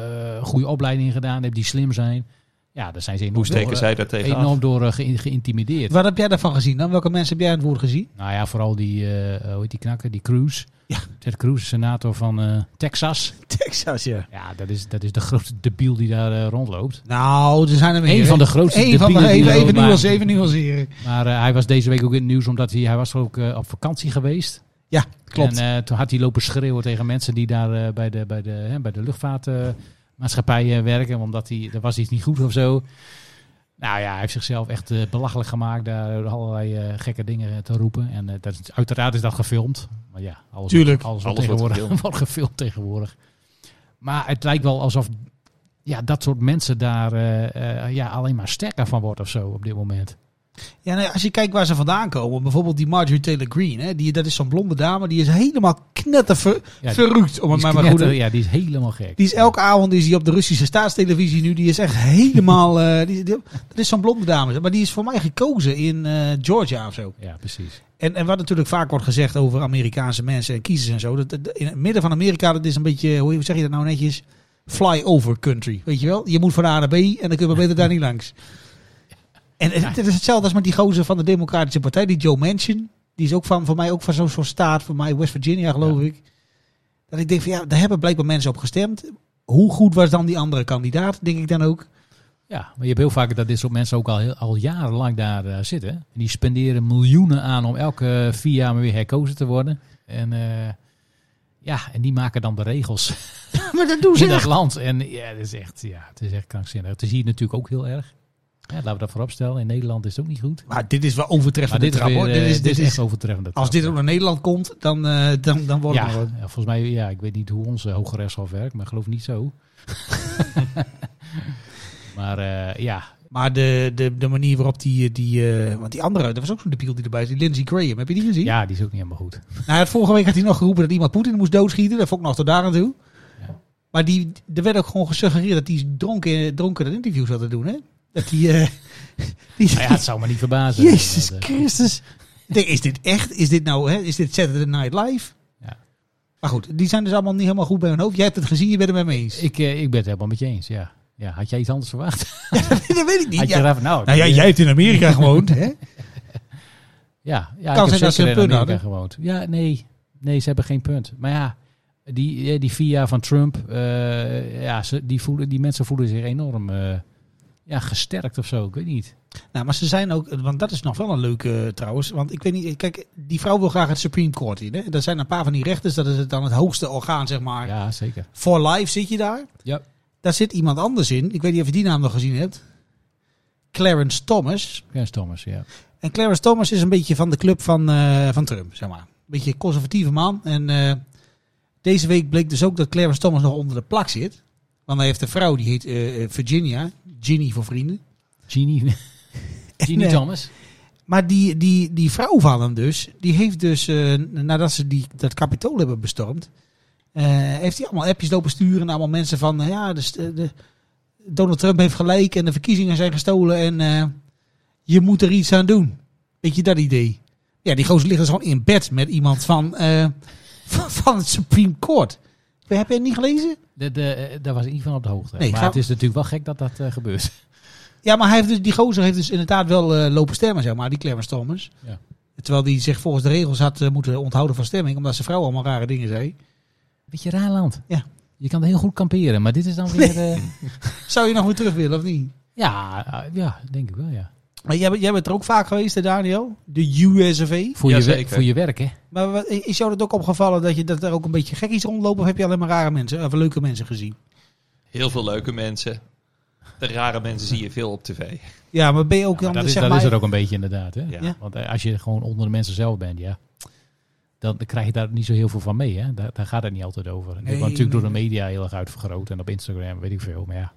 A: goede opleidingen gedaan hebben, die slim zijn. Ja, daar zijn ze enorm,
B: Hoe steken
A: door,
B: zij daar
A: eh,
B: tegenaan?
A: enorm door eh, geïn- geïntimideerd.
E: Wat heb jij daarvan gezien dan? Welke mensen heb jij aan het woord gezien?
A: Nou ja, vooral die, eh, hoe heet die knakker, die Cruz.
E: Ja.
A: Ted Cruz, senator van eh, Texas.
E: [laughs] Texas, ja.
A: Ja, dat is, dat is de grootste debiel die daar eh, rondloopt.
E: Nou, er zijn er meer.
A: Eén
E: hè?
A: van de grootste
E: Eén van de,
A: debielen die
E: even,
A: er
E: even
A: rondmaken.
E: nuanceren, even nuanceren.
A: Maar eh, hij was deze week ook in het nieuws, omdat hij, hij was ook eh, op vakantie geweest.
E: Ja, klopt.
A: En eh, toen had hij lopen schreeuwen tegen mensen die daar eh, bij de, bij de, hè, bij de luchtvaartmaatschappij eh, werken. Omdat hij, er was iets niet goed of zo. Nou ja, hij heeft zichzelf echt eh, belachelijk gemaakt. Daar door allerlei eh, gekke dingen eh, te roepen. En eh, dat is, uiteraard is dat gefilmd. Maar ja, alles,
E: Tuurlijk.
A: alles,
B: Alles wordt
A: wordt, tegenwoordig,
B: gefilmd.
A: gefilmd. [laughs] wordt gefilmd tegenwoordig. Maar het lijkt wel alsof ja, dat soort mensen daar eh, eh, ja, alleen maar sterker van wordt of zo op dit moment.
E: Ja, nou ja, als je kijkt waar ze vandaan komen, bijvoorbeeld die Marjorie Taylor Greene, hè, die, dat is zo'n blonde dame, die is helemaal knetterver
A: Ja,
E: verrukt, om
A: Die
E: het
A: is
E: maar maar goed
A: knetter- ja, die is helemaal gek.
E: Die is elke avond is die op de Russische staatstelevisie nu. Die is echt helemaal. eh, die, die- dat is zo'n blonde dame. Maar die is voor mij gekozen in eh, Georgia of zo.
A: Ja, precies.
E: En, en wat natuurlijk vaak wordt gezegd over Amerikaanse mensen en kiezers en zo. Dat, dat- in het midden van Amerika, dat is een beetje. Hoe zeg je dat nou netjes? Flyover country. Weet je wel? Je moet van A naar B en dan kun je maar beter daar niet langs. En het, het is hetzelfde als met die gozer van de Democratische Partij, die Joe Manchin. Die is ook van, voor mij ook van zo'n soort staat, voor mij West Virginia geloof ik. Dat ik denk van ja, daar hebben blijkbaar mensen op gestemd. Hoe goed was dan die andere kandidaat, denk ik dan ook.
A: Ja, maar je hebt heel vaak dat dit soort mensen ook al, heel- al jarenlang daar eh, zitten. En die spenderen miljoenen aan om elke eh, vier jaar maar weer herkozen te worden. En eh, ja, en die maken dan de
E: [laughs]
A: regels
E: maar dat doen ze
A: in dat
E: echt.
A: land. En ja, dat is echt, ja, het is echt krankzinnig. Het is hier natuurlijk ook heel erg. Ja, laten we dat vooropstellen. In Nederland is het ook niet goed.
E: Maar dit is wel
A: Maar
E: overtreffend
A: dit is,
E: trap
A: weer,
E: hoor.
A: eh,
E: Dit is, dit is,
A: echt overtreffend.
E: als dit ook naar Nederland komt, dan, eh, dan, dan wordt
A: ja,
E: het nog wat.
A: ja, volgens mij, ja, ik weet niet hoe onze hoge rechtshof werkt, maar ik geloof niet zo. [laughs] maar eh, ja,
E: Maar de, de, de manier waarop die... die eh, want die andere, dat was ook zo'n debiel die erbij zit. Lindsey Graham, heb je die gezien?
A: ja, die is ook niet helemaal goed.
E: Nou, ja, vorige week had hij nog geroepen dat iemand Poetin moest doodschieten. Dat vond ik nog tot daar aan toe.
A: Ja.
E: Maar die, er werd ook gewoon gesuggereerd dat hij dronken, dronken dat interview zat te doen. Hè? Dat hij... eh, [laughs] die,
A: Maar Nou ja, het zou me niet verbazen.
E: Jezus
A: Dat, eh,
E: Christus. Ik denk, is dit echt? Is dit nou... Hè? Is dit Saturday Night Live?
A: Ja.
E: Maar goed, die zijn dus allemaal niet helemaal goed bij hun hoofd. Jij hebt het gezien, je bent het met me eens.
A: Ik, eh, ik ben het helemaal met je eens, ja. ja. Had jij iets anders verwacht?
E: [laughs] dat weet ik
A: Had
E: niet.
A: je
E: Ja.
A: eraf- nou,
E: Nou ja,
A: die, eh,
E: jij hebt in Amerika gewoond, hè?
A: Ja, ja
E: Kan
A: ik
E: zijn
A: heb
E: dat
A: zeker
E: ze een
A: in
E: punt
A: Amerika
E: hadden.
A: gewoond. Ja, nee. Nee, ze hebben geen punt. Maar ja, die, eh, die vier jaar van Trump, eh, ja, ze, die, voelen, die mensen voelen zich enorm eh, ja, gesterkt of zo. Ik weet niet.
E: Nou, maar ze zijn ook, want dat is nog wel een leuke eh, trouwens. Want ik weet niet, kijk, die vrouw wil graag het Supreme Court in. Hè? Er zijn een paar van die rechters, dat is het dan het hoogste orgaan, zeg maar.
A: Ja, zeker.
E: For life zit je daar.
A: Ja.
E: Daar zit iemand anders in. Ik weet niet of je die naam nog gezien hebt. Clarence Thomas.
A: Clarence Thomas, ja.
E: En Clarence Thomas is een beetje van de club van, eh, van Trump, zeg maar. Een beetje een conservatieve man. En eh, deze week bleek dus ook dat Clarence Thomas nog onder de plak zit. Want hij heeft een vrouw, die heet eh, eh, Virginia. Ginny voor vrienden.
A: Genie, [laughs] Genie
E: eh,
A: Thomas.
E: Maar die, die, die vrouw van hem dus, die heeft dus, eh, nadat ze die, dat kapitool hebben bestormd, eh, heeft hij allemaal appjes lopen sturen naar allemaal mensen van, nou ja, de, st- de, Donald Trump heeft gelijk en de verkiezingen zijn gestolen en eh, je moet er iets aan doen. Weet je dat idee? Ja, die gozer ligt dus gewoon in bed met iemand van, eh, [laughs] van, van het Supreme Court. Heb je het niet gelezen?
A: De, de, eh, daar was in ieder geval op de hoogte.
E: Nee,
A: maar
E: ga-
A: het is natuurlijk wel gek dat dat eh, gebeurt.
E: Ja, maar hij heeft dus, die gozer heeft dus inderdaad wel eh, lopen stemmen, zeg maar, die Clarence Thomas.
A: Ja.
E: Terwijl die zich volgens de regels had eh, moeten onthouden van stemming, omdat zijn vrouw allemaal rare dingen zei.
A: Beetje raar land.
E: Ja.
A: Je kan er heel goed kamperen, maar dit is dan weer... eh,
E: Zou je nog weer terug willen of niet?
A: ja, eh, ja, denk ik wel, ja.
E: Maar jij, bent- jij bent er ook vaak geweest, hè, Daniel? De USV.
A: Voor, je, wer-
B: Jazeker.
A: voor je werk, hè?
E: Maar wat- is jou dat ook opgevallen dat, je, dat er ook een beetje gekkies rondlopen? Of heb je alleen maar rare mensen, of leuke mensen gezien?
B: Heel veel leuke mensen. De rare mensen zie je veel op tv.
E: Ja, maar ben je ook
A: Ja,
E: dan,
A: dat is,
E: zeg
A: dat
E: maar...
A: is er ook een beetje inderdaad. Hè?
B: Ja.
E: Ja.
A: Want eh, als je gewoon onder de mensen zelf bent, ja, dan krijg je daar niet zo heel veel van mee. Hè? Daar, daar gaat het niet altijd over. En dit wordt natuurlijk
E: nee,
A: door de media heel erg uitvergroot en op Instagram, weet ik veel. Maar ja,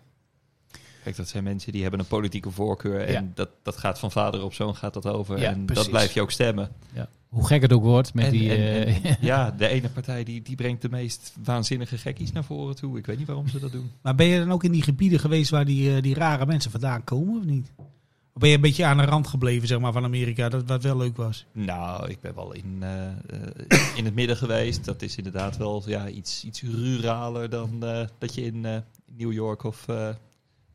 B: Kijk, dat zijn mensen die hebben een politieke voorkeur. En
A: Ja.
B: dat, dat gaat van vader op zoon gaat dat over.
A: Ja,
B: en
A: precies.
B: dat blijf je ook stemmen.
A: hoe gek het ook wordt met
B: En-
A: die...
B: en-
A: [laughs] eh,
B: [laughs] Ja, de ene partij die, die brengt de meest waanzinnige gekkies naar voren toe. Ik weet niet waarom ze dat doen.
E: Maar ben je dan ook in die gebieden geweest waar die, eh, die rare mensen vandaan komen of niet? Of ben je een beetje aan de rand gebleven zeg maar, van Amerika, dat wat wel leuk was?
B: [laughs] Nou, ik ben wel in, eh, eh, in het midden geweest. Dat is inderdaad wel ja, iets, iets ruraler dan eh, dat je in eh, New York of eh,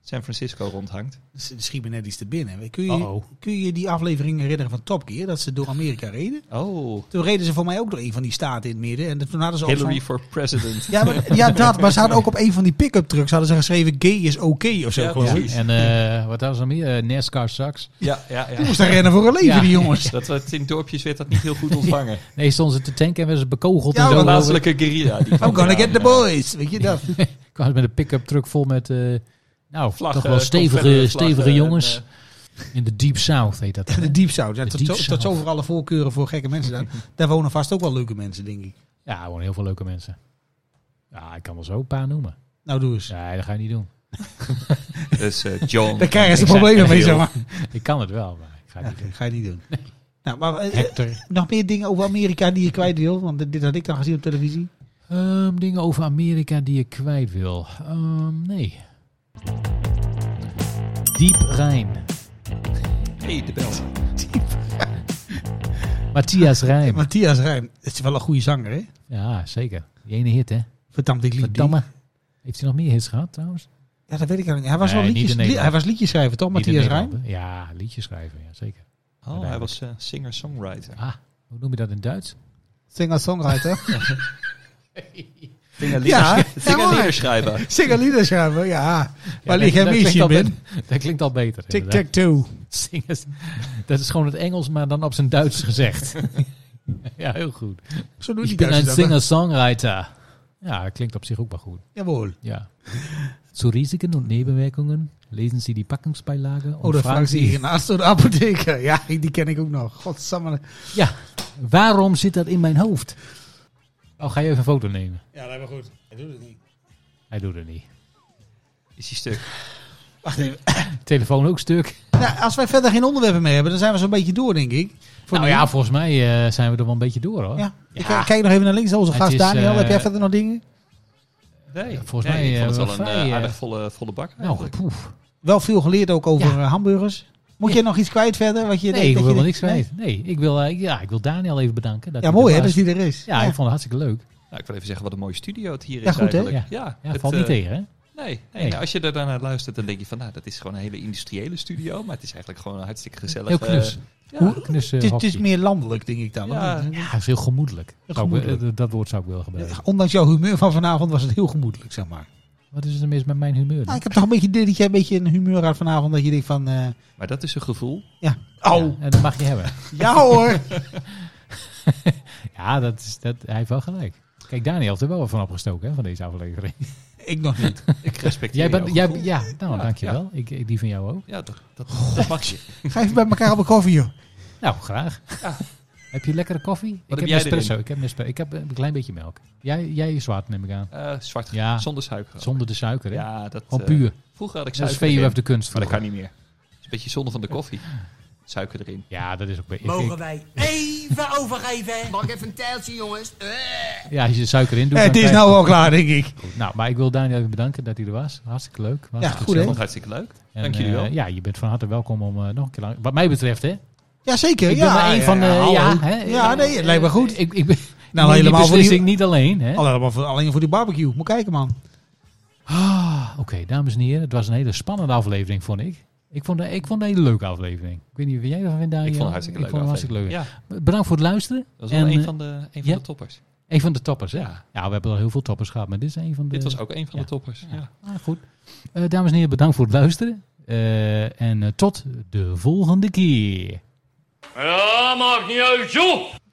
B: San Francisco rondhangt.
E: Dus er schiet me net iets te binnen. Kun je,
A: Uh-oh.
E: kun je die aflevering herinneren van Top Gear, dat ze door Amerika reden?
B: Oh,
E: Toen reden ze voor mij ook door een van die staten in het midden. En toen hadden ze ook
B: Hillary
E: zo'n-
B: for president.
E: Ja, maar, ja, dat. Maar ze hadden ook op een van die pick-up trucks hadden ze geschreven gay is oké of zo.
B: Ja,
E: geloof ik.
B: precies.
A: en eh, wat was er meer? Eh, NASCAR
B: [laughs]
A: sucks.
B: Ja, ja, ja. [laughs]
E: Die moesten rennen voor hun leven,
A: Ja.
E: die jongens.
B: Dat werd in dorpjes werd dat niet heel goed ontvangen.
A: Nee, stonden ze te tanken en werden ze bekogeld
E: Ja,
A: en
E: want
A: zo.
B: De
E: Hallo.
B: plaatselijke guerrilla. die kwam
E: I'm gonna
B: eraan,
E: get the
B: eh,
E: boys. Weet je dat?
A: Kwamen ze met een pick-up truck vol met, eh, nou,
B: vlaggen,
A: toch wel stevige,
B: Confederate
A: stevige
B: vlaggen
A: jongens.
B: en, eh,
A: In de Deep South
B: [laughs]
A: heet dat. hè?
E: De Deep South. Ja,
A: De
E: tot,
A: Deep
E: zo- tot
A: South.
E: zover alle voorkeuren voor gekke mensen. Daar, daar wonen vast ook wel leuke mensen, denk ik.
A: Ja, gewoon heel veel leuke mensen. Ja, ik kan wel zo een paar noemen.
E: Nou, doe eens.
A: Nee, dat ga je niet doen.
B: eh, dus eh, John.
E: [laughs] Daar krijgen ze
A: Ik zei-
E: problemen mee, zeg maar.
A: Ik kan het wel, maar ik ga het
E: Ja,
A: niet
E: [laughs]
A: doen.
E: ga je niet doen. Nou, maar eh, eh,
A: Hector.
E: nog meer dingen over Amerika die je kwijt wil? Want dit- dit had ik dan gezien op televisie.
A: Ehm, dingen over Amerika die je kwijt wil. Ehm, nee. Diep Rijn.
B: Hey, de bel.
A: Matthias Rijn.
E: Matthias Rijn. Het is wel een goede zanger, hè?
A: Ja, zeker. Die ene hit, hè?
E: Verdammt, ik liep die.
A: Verdamme. Heeft hij nog meer hits gehad, trouwens?
E: Ja, dat weet ik eigenlijk niet. Hij was
A: Nee,
E: wel
A: niet
E: liedjes,
A: in
E: li-
A: Nederland.
E: hij was liedjeschrijver, toch,
A: Niet
E: Oh, Matthias
A: in
E: Rijn?
A: Nederland, hè? Ja, liedjes schrijven, ja, zeker.
B: Oh, hij was eh, singer-songwriter.
A: Ah, hoe noem je dat in Duits? [laughs]
E: Singer-songwriter.
B: Dingen
E: Ja, ja, maar-
B: lieder
E: [laughs]
B: schrijven.
E: Zingen liederen schrijven, ja. Waar
A: dat-
E: lig jij
A: dat
E: mis
A: klinkt
E: je
A: al
E: ben?
A: be- [laughs] Dat klinkt al beter.
E: tic
A: inderdaad.
E: tac toe.
A: [laughs] Zingen is- Dat is gewoon het Engels, maar dan op zijn Duits gezegd.
E: [laughs]
A: ja, heel goed.
E: Zo doen
A: Ik
E: die
A: ben een
E: Duitsers dat. hè?
A: singer-songwriter. Ja, dat klinkt op zich ook wel goed.
E: Jawohl.
A: Ja. Zu Risiken und Nebenwirkungen lesen Sie die Packungsbeilage und
E: Oh, dat
A: fragen
E: vraag ze hier
A: Sie,
E: naast door de apotheker. Ja, die ken ik ook nog. Godsamme.
A: ja, waarom zit dat in mijn hoofd? Oh, ga je even een foto nemen?
E: Ja, dat was goed. Hij doet het niet.
A: Hij doet het niet.
B: Is die stuk.
E: Wacht even.
A: Telefoon ook stuk.
E: Nou, als wij verder geen onderwerpen meer hebben, dan zijn we zo'n beetje door, denk ik. Voor
A: nou
E: nu.
A: ja, volgens mij eh, zijn we er wel een beetje door hoor.
E: Ja. Ik eh, kijk nog even naar links. Onze
A: Het
E: gast
A: is,
E: Daniel,
A: eh,
E: heb jij verder nog dingen?
B: Nee,
A: volgens
B: nee, ik
A: mij,
B: vond
A: eh,
B: het wel een
A: vrij,
B: eh,
A: eh,
B: aardig volle, volle bak.
A: Nou,
B: eigenlijk.
A: poef.
E: Wel veel geleerd ook over
A: Ja.
E: eh, hamburgers. Moet
A: Ja.
E: jij nog iets kwijt verder? Wat je
A: Nee,
E: denkt
A: ik
E: dat
A: wil
E: je
A: wel niks
E: denkt- Nee?
A: kwijt. Nee, ik wil, eh, ja, ik wil Daniel even bedanken. Dat
E: Ja,
A: hij er
E: mooi hè,
A: was.
E: dat die er is.
A: Ja, ik vond het hartstikke leuk.
B: Nou, ik wil even zeggen wat een mooie studio het hier
E: Ja,
B: is
E: goed, hè?
B: eigenlijk. Ja,
A: Ja,
B: het,
A: valt niet
B: eh,
A: tegen hè?
B: Nee, nee,
A: Nee.
B: nou, als je er daarnaar luistert, dan denk je van, nou, dat is gewoon een hele industriële studio. Maar het is eigenlijk gewoon een hartstikke gezellig.
A: Heel knus.
B: eh, ja.
A: Hoe- knus eh,
E: Het is, het is
A: hockey.
E: meer landelijk, denk ik dan.
B: Ja.
E: Want, eh,
A: Ja, het is heel gemoedelijk. Zou ik-
E: gemoedelijk.
A: eh, dat woord zou ik willen gebruiken.
E: Ondanks jouw humeur van vanavond was het heel gemoedelijk, zeg maar.
A: Wat is er mis met mijn humeur? dan?
E: Nou, ik heb toch een beetje het idee dat jij een beetje een humeur had vanavond. Dat je denkt van, eh,
B: Maar dat is een gevoel.
E: ja.
A: Ja, en dat mag je hebben.
E: ja
A: [laughs]
E: hoor.
A: Ja, dat is, dat, hij heeft wel gelijk. Kijk, Daniel heeft er wel wat van opgestoken hè, van deze aflevering.
E: ik nog niet.
B: Ik respecteer
A: Jij bent,
B: jouw
A: jij,
B: gevoel.
A: ja, nou,
B: Ja,
A: dankjewel. Ik, ik- die van jou ook.
B: Ja, dat, dat, dat mag je.
E: Ga even bij elkaar op een koffie, joh.
A: Nou, graag. Heb je lekkere koffie? ik,
B: heb
A: heb
B: jij
A: espresso,
B: erin?
A: ik heb espresso. Ik heb een klein beetje melk. Jij, jij is zwart, neem ik aan.
B: Eh, zwart,
A: Ja.
B: zonder suiker.
A: Zonder de suiker, hè?
B: Ja, dat,
A: Gewoon
B: eh,
A: puur.
B: Vroeger had ik
A: Dat is
B: suiker
A: VUF
B: erin,
A: de kunst.
B: maar dat
A: vroeger.
B: kan niet meer. Het is een beetje zonde van de koffie. Suiker erin.
A: Ja, dat is ook... ik- ik-
I: Mogen wij even overgeven? Mag ik even een tijltje, jongens? Eh.
A: ja, als je suiker in doet...
E: Eh,
A: dan
E: het is
A: krijg je-
E: nou wel klaar, denk ik.
A: Nou, maar ik wil Daniel even bedanken dat hij er was. Hartstikke leuk.
E: Ja,
A: Hartstikke
E: goed
B: Ik
A: gezellig.
E: hè?
B: vond het hartstikke leuk.
A: En,
B: Dank jullie wel.
A: eh, ja, je bent van harte welkom om eh, nog een keer lang... Wat mij betreft, hè?
E: Jazeker.
A: Ik
E: ja,
A: ben maar één
E: ja,
A: van de...
E: hallo.
A: ja, hè? Eh,
E: Ja, nee, het lijkt me goed.
A: Ik, ik ben,
E: Nou,
A: nou,
E: helemaal
A: helemaal
E: voor die-
A: beslissing niet alleen, hè?
E: Allemaal voor- alleen voor die barbecue. Moet kijken, man.
A: Ah, Oké, dames en heren. Het was een hele spannende aflevering, vond ik. Ik vond, het- ik vond het een hele leuke aflevering. Ik weet niet wat jij ervan vindt, Daniel.
B: ik vond het hartstikke leuk.
A: Ah, Ik vond het hartstikke leuk.
B: aflevering. Ja,
A: Bedankt voor het luisteren.
B: dat was wel
A: En,
B: een
A: eh,
B: van de, een van
A: ja?
B: de toppers.
A: Een van de toppers, hè? Ja.
B: Ja.
A: we hebben al heel veel toppers gehad, maar dit is een van de...
B: Dit was ook een van
A: ja.
B: de toppers. Ja.
A: Ah, goed. Eh, dames en heren, bedankt voor het luisteren. Eh, en eh, tot de volgende keer.
D: Ja, maakt niet uit, joh!